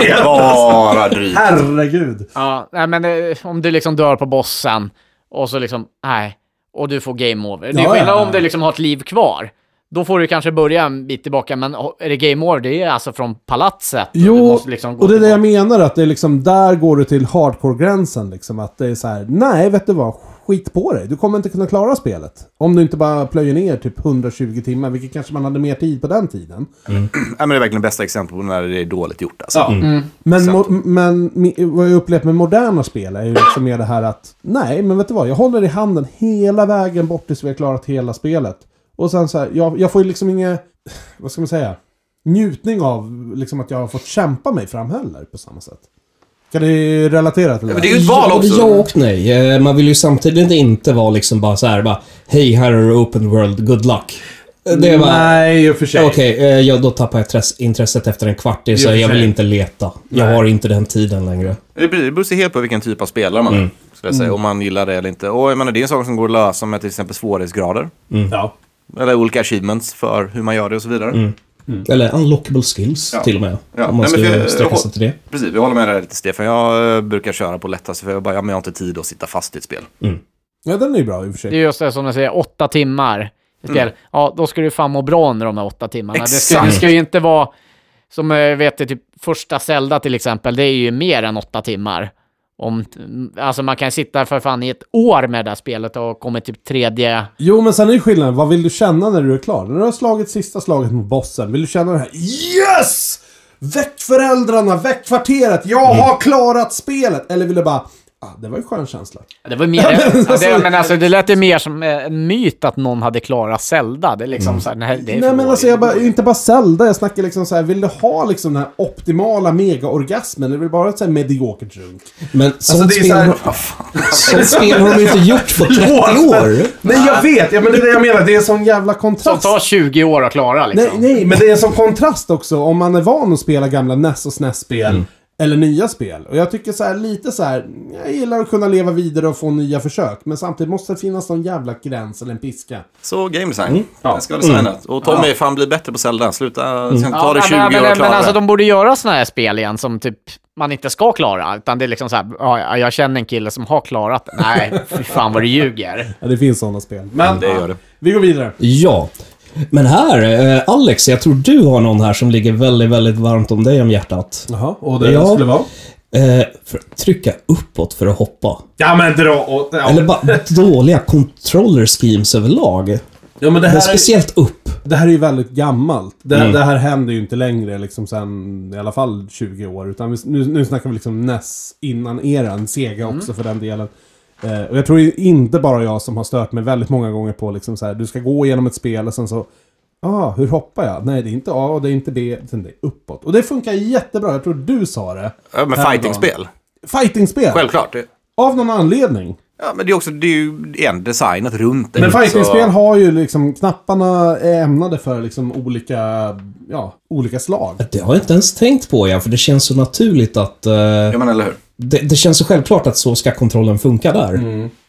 Det är bara drygt. Herregud! Ja, nej, men eh, om du liksom dör på bossen och så liksom, nej, och du får game over. Det är Ja, skillnad ja, ja. om du liksom har ett liv kvar. Då får du kanske börja en bit tillbaka, men oh, är det game over, det är alltså från palatset. och du Jo, måste liksom gå och det är det tillbaka. jag menar, att det är liksom, där går du till hardcore-gränsen liksom. Att det är så här, nej vet du vad, skit på dig. Du kommer inte kunna klara spelet. Om du inte bara plöjer ner typ 120 timmar, vilket kanske man hade mer tid på den tiden. Nej, men det är verkligen bästa exemplet på när det är dåligt gjort. Alltså. Ja. Mm. Mm. Men, mo- men mi- vad jag upplevt med moderna spel är ju liksom mer det här att nej, men vet du vad? Jag håller i handen hela vägen bort tills vi har klarat hela spelet. Och sen så här, jag, jag får ju liksom ingen, vad ska man säga, njutning av liksom att jag har fått kämpa mig fram heller på samma sätt. Kan ni relatera till det? men det är ju ett val Ja, också. Ja och nej. Eh, Man vill ju samtidigt inte vara liksom bara så här bara Hej, här är det open world, good luck. Eh, Det är bara... Nej, i och för sig. Okej, eh, ja, då tappar jag tress- intresset efter en kvart. Det är så här, för jag sig. vill inte leta. Jag har inte den tiden längre. Det beror- det beror sig helt på vilken typ av spelare man Mm. är. Skulle jag säga, om man gillar det eller inte. Och jag menar, det är en sak som går att lösa med till exempel svårighetsgrader. Mm. Ja. Eller olika achievements för hur man gör det och så vidare. Eller unlockable skills Mm. Ja. Mm. till och med. Ja. Om man Nej, men ska för- sträcka sig till det. Precis, vi håller med dig lite Stefan. Jag eh, brukar köra på lättaste för jag, bara, ja, men jag har inte tid att sitta fast i ett spel. ja, den är ju bra i och för sig. Det är just det som jag säger, åtta timmar i spel. Ja, då ska du fan må bra under de där åtta timmarna. Det ska, det Exakt. ska ju inte vara, som jag vet det, typ första Zelda till exempel, det är ju mer än åtta timmar. Om, alltså man kan sitta för fan i ett år med det här spelet och komma typ tredje... Jo, men sen är ju skillnaden. Vad vill du känna när du är klar? När du har slagit sista slaget mot bossen, vill du känna det här Yes! Väck föräldrarna, väck kvarteret, jag har klarat spelet! Eller vill du bara, ah, det var ju en skön känsla. Det var mer... ja, det, men alltså det lät ju mer som eh, en myt att någon hade klarat Zelda. Det är liksom så här, nej, det är Nej för men alltså, dåligt. jag bara, inte bara Zelda, jag snackar liksom så här, vill du ha liksom den här optimala mega-orgasmen? Eller vill du bara ha ett så här mediokert runk? Men Alltså, sånt det är spel, så här- har- sånt spel har de ju inte gjort på 30 år. Nej jag vet, ja, men det är det jag menar, det är en sån jävla Som kontrast. tar 20 år att klara liksom. Nej, nej, men det är en sån kontrast också om man är van att spela gamla NES och SNES-spel. Mm. Eller nya spel. Och jag tycker så här lite så här. Jag gillar att kunna leva vidare och få nya försök. Men samtidigt måste det finnas någon jävla gräns eller en piska. Så game design. Jag ska ha designat. Och Tommy, fan bli bättre på Zelda. Sluta, mm. Ja, ta dig 20 men, men, år att men klara alltså det. de borde göra såna här spel igen som typ man inte ska klara. Utan det är liksom så här, ja, ja, jag känner en kille som har klarat det. Nej, fy fan vad du ljuger. Ja, det finns sådana spel. Men Mm, det gör det. vi går vidare. Ja. Men här, eh, Alex, jag tror du har någon här som ligger väldigt, väldigt varmt om dig om hjärtat. Jaha, och det Ja. skulle vara? Eh, för att trycka uppåt för att hoppa. Ja men dra åt... Ja, Eller bara dåliga controller schemes överlag. ja men det Men här, är, speciellt upp. det här är ju väldigt gammalt. Det, Mm. det här händer ju inte längre liksom sen i alla fall 20 år. Utan vi, nu, nu snackar vi liksom NES innan eran. Sega också för den delen. Eh, och jag tror ju inte bara jag som har stört mig väldigt många gånger på liksom så här, du ska gå igenom ett spel och sen så... Ah, hur hoppar jag? Nej, det är inte A och det är inte B, utan det är uppåt. Och det funkar jättebra, jag tror du sa det. Ja, men fightingspel. Fightingspel! Självklart. Det- Av någon anledning. Ja, men det är också, det är ju igen designat runt det. Men Mm, Så- fightingspel har ju liksom, knapparna är ämnade för liksom olika, ja, olika slag. Det har jag inte ens tänkt på, ja, för det känns så naturligt att... Eh, Ja, men eller hur. det, det känns så självklart att så ska kontrollen funka där.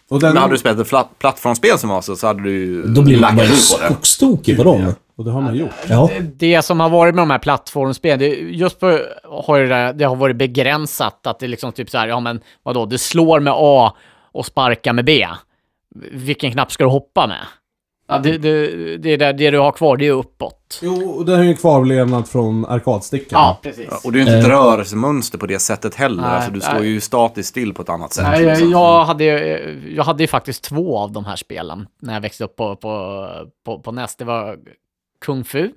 Och den, Men hade du spelat ett platt, plattformsspel som var så, så hade du ju Då blir man lackat bara ur på det. skogstokig på dem. och det har man gjort. Ja. det som har varit med de här plattformsspelen, det, just på, har ju det, det har varit begränsat att det liksom typ så här, ja men vadå, du slår med A och sparkar med B. Vilken knapp ska du hoppa med? Ja, det, det, det, är där, det du har kvar, det är ju uppåt. Jo, och den är ju en kvarlevnad från arkadstickan. Ja, precis. Och det är ju inte ett rörelsemönster på det sättet heller. Nej, alltså, du står nej. ju statiskt still på ett annat sätt. Nej, jag, liksom. jag, hade, ju- jag hade ju faktiskt två av de här spelen när jag växte upp på, på, på, på NES. Det var Kung Fu,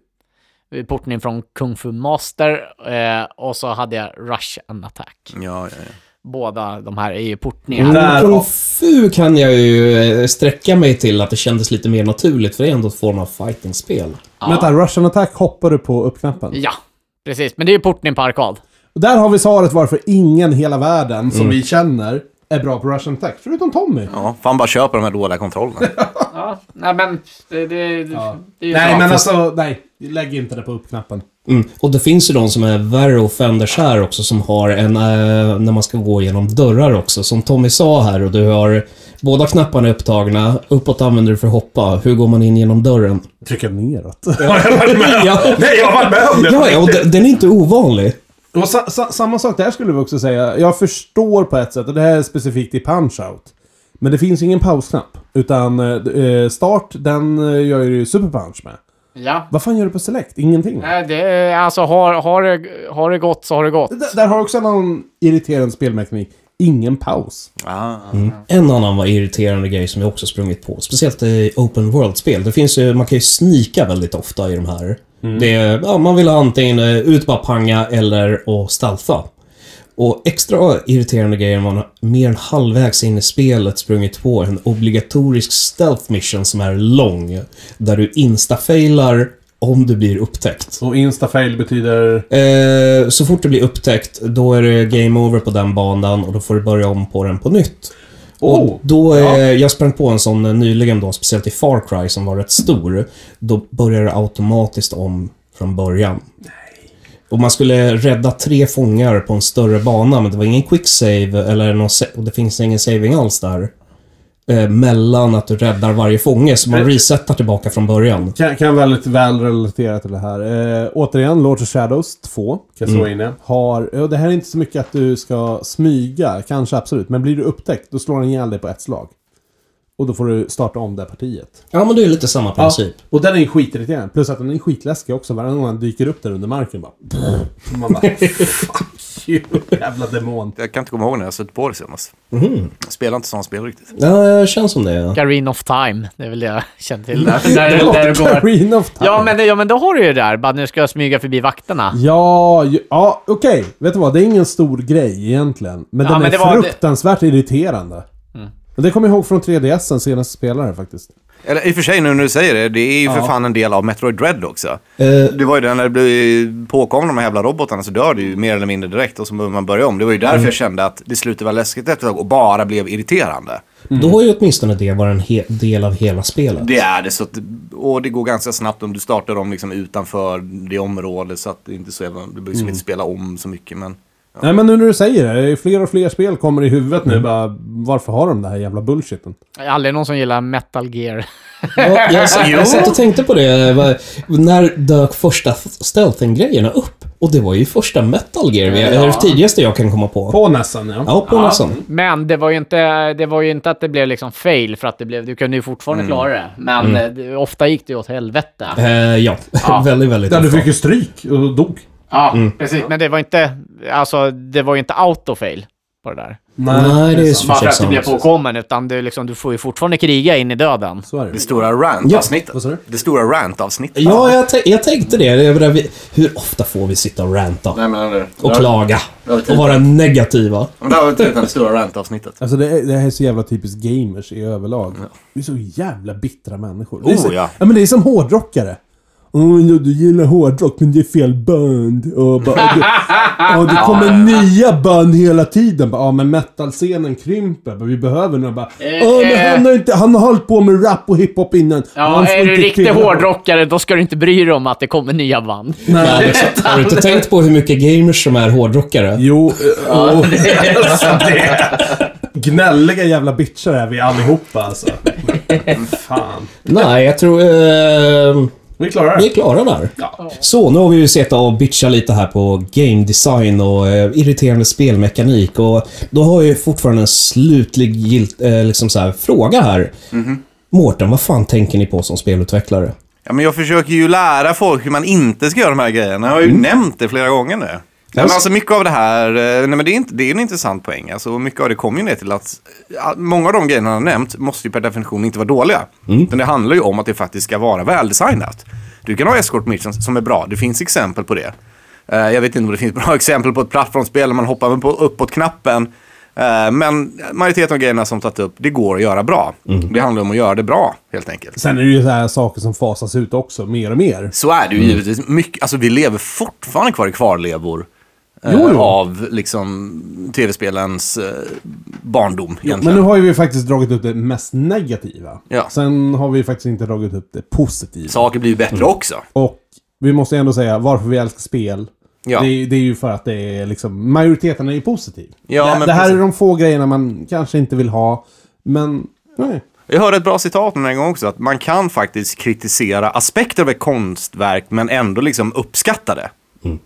portning från Kung Fu Master eh, och så hade jag Rush and Attack. Ja, ja, ja. Båda de här är ju portningar. Men Där- Kung Fu kan jag ju eh, sträcka mig till att det kändes lite mer naturligt, för det är ändå en form av fightingspel. Ja. Vänta, Russian Attack hoppar du på uppknappen. Ja, precis. Men det är ju portning på arkad. Och där har vi svaret varför ingen i hela världen som vi känner är bra på Russian Attack. Förutom Tommy. ja, fan bara köpa de här dåliga kontrollerna. Ja, nej men det, det, det är ju Nej, så. men alltså, nej. Lägg inte det på uppknappen. Mm. Och det finns ju de som är värre offenders här också, som har en... Eh, när man ska gå genom dörrar också. Som Tommy sa här, och du har... Båda knapparna upptagna. Uppåt använder du för att hoppa. Hur går man in genom dörren? Trycka neråt. Ja, nej, jag har varit med om ja, ja och de- den är inte ovanlig. Och sa, sa, samma sak där skulle vi också säga. Jag förstår på ett sätt, och det här är specifikt i Punch-Out. Men det finns ju ingen pausknapp. Utan eh, start, den eh, gör ju Super Punch med. Ja. Vad fan gör du på Select? Ingenting. Nej, det, är- alltså har, har, det, har det gått så har det gått. D- där har också någon irriterande spelmekanik. Ingen paus. Ah. En annan var irriterande grej som jag också sprungit på. Speciellt i open world-spel. Det finns ju, man kan ju snika väldigt ofta i de här. Det är, ja, man vill ha antingen eh, ut bara panga eller och stalfa. Och extra irriterande grejer är när man mer än halvvägs in i spelet sprungit på en obligatorisk stealth mission som är lång. Där du instafailar om du blir upptäckt. Och instafail betyder... Eh, så fort du blir upptäckt, då är det game over på den banan och då får du börja om på den på nytt. Oh, och då är, Jag sprang på en sån eh, nyligen då, speciellt i Far Cry som var rätt stor. Då börjar det automatiskt om från början. Och man skulle rädda tre fångar på en större bana, men det var ingen quicksave eller någon sa- och det finns ingen saving alls där. Eh, mellan att du räddar varje fånge, så man resetar tillbaka från början. Kan, kan väldigt väl relatera till det här. Eh, återigen, Lords of Shadows 2, Castlevania, har... Och det här är inte så mycket att du ska smyga, kanske absolut. Men blir du upptäckt, då slår den ihjäl dig på ett slag. Och då får du starta om det här partiet. Ja, men det är ju lite samma princip. Och den är ju skitirriterande. Plus att den är skitläskig också. Varje gång den dyker upp där under marken bara... Man bara... Fuck you, jävla demon. Jag kan inte komma ihåg när jag sett på det senast. Spelar inte sådana spel riktigt. Ja, det känns som det. Ja. Gareen of Time, det är väl det jag känner till. Där, där, där det går. Ocarina of Time. Ja men, ja, men då har du ju det där. Bara nu ska jag smyga förbi vakterna. Ja, ju- ja okej. Vet du vad? Det är ingen stor grej egentligen. Men Ja, den men är det Mm. var- fruktansvärt irriterande. Men det kommer jag ihåg från 3DSen senaste spelare faktiskt. Eller i och för sig nu när du säger det, det är ju för fan en del av Metroid Dread också. Eh, Det var ju den när det blev påkomna de här jävla robotarna så dör det ju mer eller mindre direkt och så behöver man börja om. Det var ju Mm. därför jag kände att det slutade vara läskigt efter ett tag och bara blev irriterande. Mm. Då har ju åtminstone det varit en he- del av hela spelet. Det är det. Så att, och det går ganska snabbt om du startar dem liksom utanför det området. Så att det inte är så jävla, du behöver liksom Mm. inte spela om så mycket. Men Nej men nu när du säger det, det, är fler och fler spel kommer i huvudet nu bara, varför har de den här jävla bullshiten? Det är aldrig någon som gillar metal gear. Ja, jag, s- jag satt och tänkte på det. Va- När dök första f- stealthen-grejerna upp? Och det var ju första metal gear, vi- eller det tidigaste jag kan komma på. På nästan ja. Ja, på nästan. Men det var, ju inte, det var ju inte att det blev liksom fail för att det blev, du kunde ju fortfarande klara det. Men eh, det, ofta gick det ju åt helvete. Eh, ja, väldigt, väldigt Där du ofta. fick ju stryk och dog. Ja, precis. Men det var inte, alltså det var ju inte autofail på det där. Nej, det är så Bara för för att du sig blev sant. påkommen, utan du, liksom, du får ju fortfarande kriga in i döden. Så är det. det stora rant-avsnittet. vad sa du? det stora rant-avsnittet. Ja, jag, tän- jag tänkte det. Jag menar, vi- hur ofta får vi sitta och ranta? Nej, men, det, Och klaga? det var Och vara negativa? det var inte det stora rant-avsnittet. Alltså det, är- det här är så jävla typiskt gamers i överlag. Vi är så jävla bittra människor. Det är Oh, så, ja. men det är som hårdrockare. Oh, du, du gillar hårdrock men det är fel band. Och bara, och det, och det kommer nya band hela tiden. Bara, Ja men metalscenen krymper. Men vi behöver några bara. Åh men han har, inte, han har hållit på med rap och hiphop innan. Ja, Han får är du inte riktig spela." hårdrockare, då ska du inte bry dig om att det kommer nya band. Nej, exakt. Har du inte tänkt på hur mycket gamers som är hårdrockare? Jo, eh, ja, det är alltså det. Gnälliga jävla bitchar är vi allihopa alltså. Fan. Nej, jag tror... Eh, Vi klarar det. vi är klara där. Ja. Så, nu har vi ju suttit och bitchat lite här på game design och eh, irriterande spelmekanik och då har jag ju fortfarande en slutlig gilt, eh, liksom så här, fråga här. Mårten, vad fan tänker ni på som spelutvecklare? Ja, men jag försöker ju lära folk hur man inte ska göra de här grejerna. Jag har ju nämnt det flera gånger nu. Nej, men alltså mycket av det här, eh, nej, men det, är inte, det är en intressant poäng. Alltså, mycket av det kommer ju ner till att eh, många av de grejerna jag har nämnt måste ju per definition inte vara dåliga. Utan det handlar ju om att det faktiskt ska vara väldesignat. Du kan ha escort missions som är bra, det finns exempel på det. Eh, Jag vet inte om det finns bra exempel på ett plattformsspel där man hoppar på uppåt-knappen. Eh, Men majoriteten av grejerna som tagit upp, det går att göra bra. Det handlar om att göra det bra, helt enkelt. Sen är det ju så här saker som fasas ut också, mer och mer. Så är det Mm. ju givetvis. Mycket, alltså, vi lever fortfarande kvar i kvarlevor eh, Jo, jo. av liksom, tv-spelens eh, barndom. Men egentligen. nu har ju vi faktiskt dragit upp det mest negativa. Ja. Sen har vi faktiskt inte dragit upp det positiva. Saker blir ju bättre Mm. också. Och vi måste ändå säga varför vi älskar spel. Ja. Det, är- det är ju för att det är liksom, majoriteten är ju positiv. Ja, det, men det här precis. är de få grejerna man kanske inte vill ha, men nej. Jag hörde ett bra citat någon gång också, att man kan faktiskt kritisera aspekter av ett konstverk men ändå liksom uppskatta det. Mm.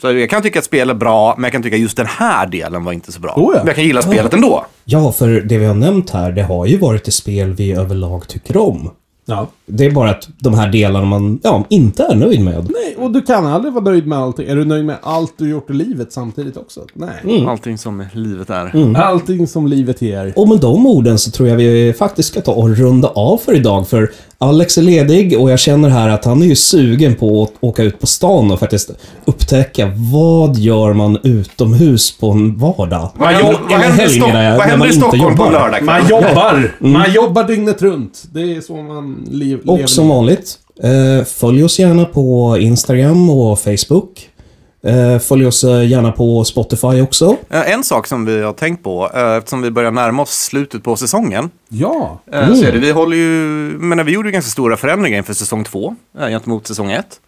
Så jag kan tycka att spel är bra, men jag kan tycka just den här delen var inte så bra. Oh, ja. Men jag kan gilla spelet ändå. Ja, för det vi har nämnt här, det har ju varit ett spel vi överlag tycker om. Ja. Det är bara att de här delarna man ja, inte är nöjd med. Nej, och du kan aldrig vara nöjd med allting. Är du nöjd med allt du gjort i livet samtidigt också? Nej. Allting som livet är. Mm. Allting som livet ger. Och med de orden så tror jag vi faktiskt ska ta och runda av för idag, för Alex är ledig och jag känner här att han är ju sugen på att åka ut på stan och faktiskt upptäcka vad gör man utomhus på en vardag? Vad Eller- händer- eller vad händer i helg Stock- menar jag, vad när händer man i inte Stockholm på jobbar. lördagkväll? Man jobbar! Man jobbar dygnet runt. Det är så man liv, lever. Mm. Och som vanligt, eh, följ oss gärna på Instagram och Facebook. Eh, följ oss eh, gärna på Spotify också. Eh, En sak som vi har tänkt på, eh, eftersom vi börjar närma oss slutet på säsongen. Ja. eh, Så är det, vi, håller ju, men vi gjorde ju ganska stora förändringar inför säsong två eh, gentemot säsong ett.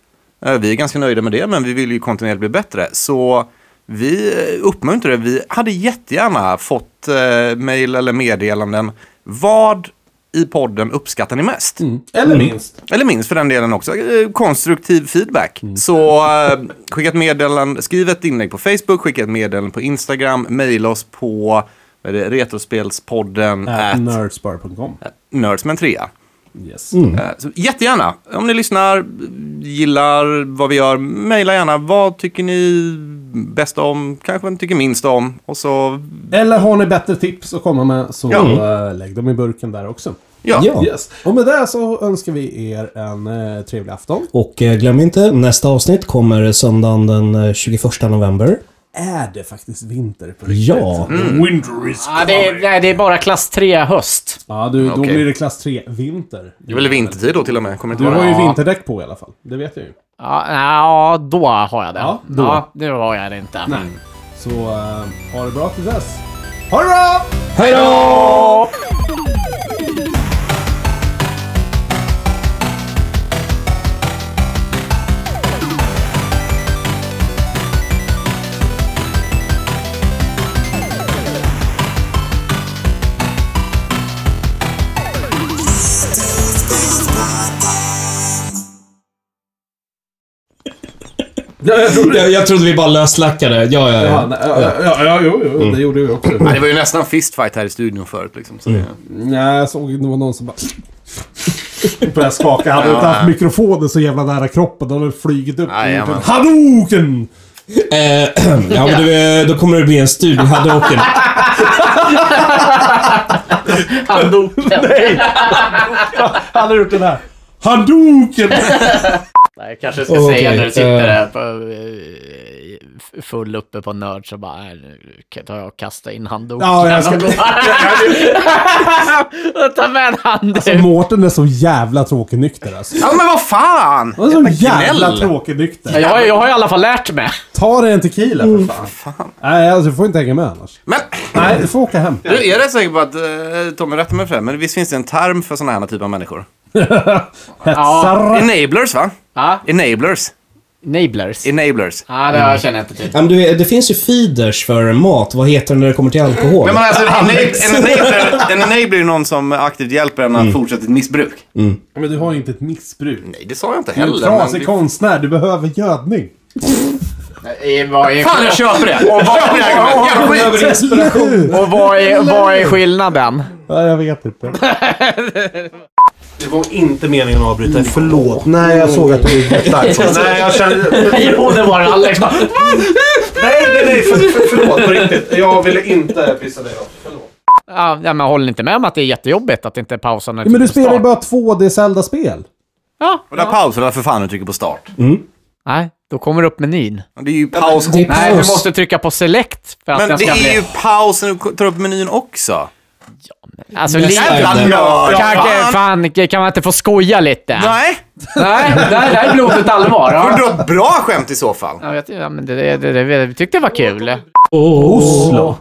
Eh, Vi är ganska nöjda med det, men vi vill ju kontinuerligt bli bättre. Så vi eh, uppmuntrar det. Vi hade jättegärna fått eh, mejl eller meddelanden. Vad i podden uppskattar ni mest? Eller Mm. minst. Eller minst för den delen också, eh, konstruktiv feedback. Så eh, skicka ett meddelande, skriv ett inlägg på Facebook, skicka ett meddelande på Instagram, mejla oss på vad är det, retrospelspodden at Nerdsbar.com. nerds med en trea. Yes. Mm. Eh, Så jättegärna, om ni lyssnar, gillar vad vi gör, mejla gärna. Vad tycker ni bäst om? Kanske vad ni tycker minst om? Och så, Eller har ni bättre tips att komma med så Ja. eh, lägg dem i burken där också. ja. Ja. Yes. Och med det så önskar vi er en eh, trevlig afton. Och eh, glöm inte, nästa avsnitt kommer söndagen den eh, 21 november. Är det faktiskt vinter på riktigt? Ja. Mm. Winter is Ja, det, är, nej, det är bara klass 3 höst. Ja, du, då Okej. blir det klass 3-vinter. Det är väl vintertid då till och med? Kommer inte Du vara har ju Ja. vinterdäck på i alla fall. Det vet jag ju. Ja, ja, då har jag det. Ja, då. nu har jag det inte. Nej. Mm. Så eh, ha det bra till dess. Ha det bra! Hej då! Ja, jag trodde Jag, jag trodde vi bara löslackade. Ja, ja, Ja, Mm. ja. nej, ja, ja, ja, jo, jo, det gjorde vi också. Ja, det var ju nästan fistfight här i studion förut liksom. Så det... Nej, jag såg det var någon som bara... Började skaka. Hade du inte haft mikrofonen så jävla nära kroppen, då hade den flugit upp. Jajamän. Hadoken! Eh, ja men du, eh, då kommer det bli en studie. Hade åken. Handduken. Nej! Han har gjort den här. Hadoken! Nej, jag kanske ska Okej, säga när du eh. sitter där på, eh, full uppe på nörd så bara, nej, nu tar jag och kastar in handduken. Ja, jag ska- Ta med en handduk. Så Mårten är så jävla tråkig-nykter alltså. Ja men vad fan! Han är så jävla gnäll. tråkig-nykter. jag, har- jag har i alla fall lärt mig. Ta dig en tequila för Mm. fan. Nej, alltså du får inte hänga med annars. Men Nej, du får åka hem. Du, jag är rätt säker på att, eh, Tommy rätta mig för det, här, men visst finns det en term för sådana här typer av människor? Hetsar. Enablers va? Ja, Enablers. enablers. Enablers. Ja, det känner jag inte till. Ja, men du, eh, det finns ju feeders för mat. Vad heter det när det kommer till alkohol? Men man, alltså, en, enab- en, enabler, en enabler är ju någon som aktivt hjälper en att fortsätta ett missbruk. Men du har ju inte ett missbruk. Mm. Nej, det sa jag inte Du är en heller. men trasig det- konstnär, du behöver gödning. Eh, vad är- Fan, jag köper det! Jag köper det argumentet. Jävla skit. Behöver inspiration. Och vad är, vad är skillnaden? Ja, jag vet inte. Det var inte meningen att avbryta. Förlåt. Nej, jag såg att du gick Nej, jag kände... Jo, det var Alex. Nej, nej, nej. För, för, förlåt på riktigt. Jag ville inte pissa dig av. Förlåt. Ja, men håller ni inte med om att det är jättejobbigt att inte pausa när Men du trycker på spelar ju start? bara 2D Zelda-spel. Ja. Och där pausar för fan du trycker på start. Nej, då kommer upp menyn. Det är ju paus. Det är Nej, du paus. måste trycka på select för att Men den det ska är bli... ju paus när du tar upp menyn också. Nästa Alltså, lite... ämne. Jävla nörd! Kanske, fan. fan, kan man inte få skoja lite? Nej, Nej, det här det här är blodigt allvar. får du Ja. dra ett bra skämt i så fall. Jag vet ju, ja, men det, det, det, det, vi tyckte det var kul. Oslo.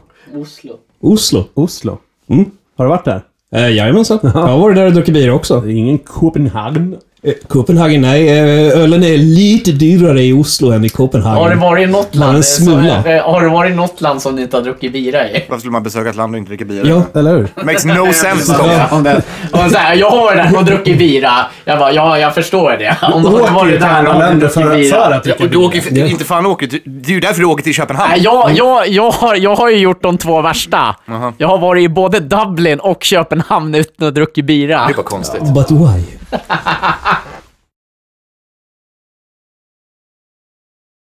Oslo. Oslo. Mm. Har du varit där? Eh, jajamensan. Jag har varit där och druckit bira också. Det är ingen Copenhagen. Eh, Copenhagen, nej. eh, Ölen är lite dyrare i Oslo än i Copenhagen. varit något land en som- smula. eh, har det varit något land som ni inte har druckit bira i? Varför skulle man besöka ett land och inte dricka bira? Ja. Eller hur? Makes no sense, Tommy. Om det, om så här, jag har varit där och druckit bira. Jag bara, ja, jag förstår det. Om Åker har till andra länder för att- för att Ja, dricka och du bira. åker, ju för- det är inte fan åker, du- det är ju därför du åker till Köpenhamn. Nej, jag, jag, jag, har, jag har ju gjort de två värsta. Aha. Jag har varit i både Dublin och Köpenhamn utan att druckit bira. Det var konstigt. But why?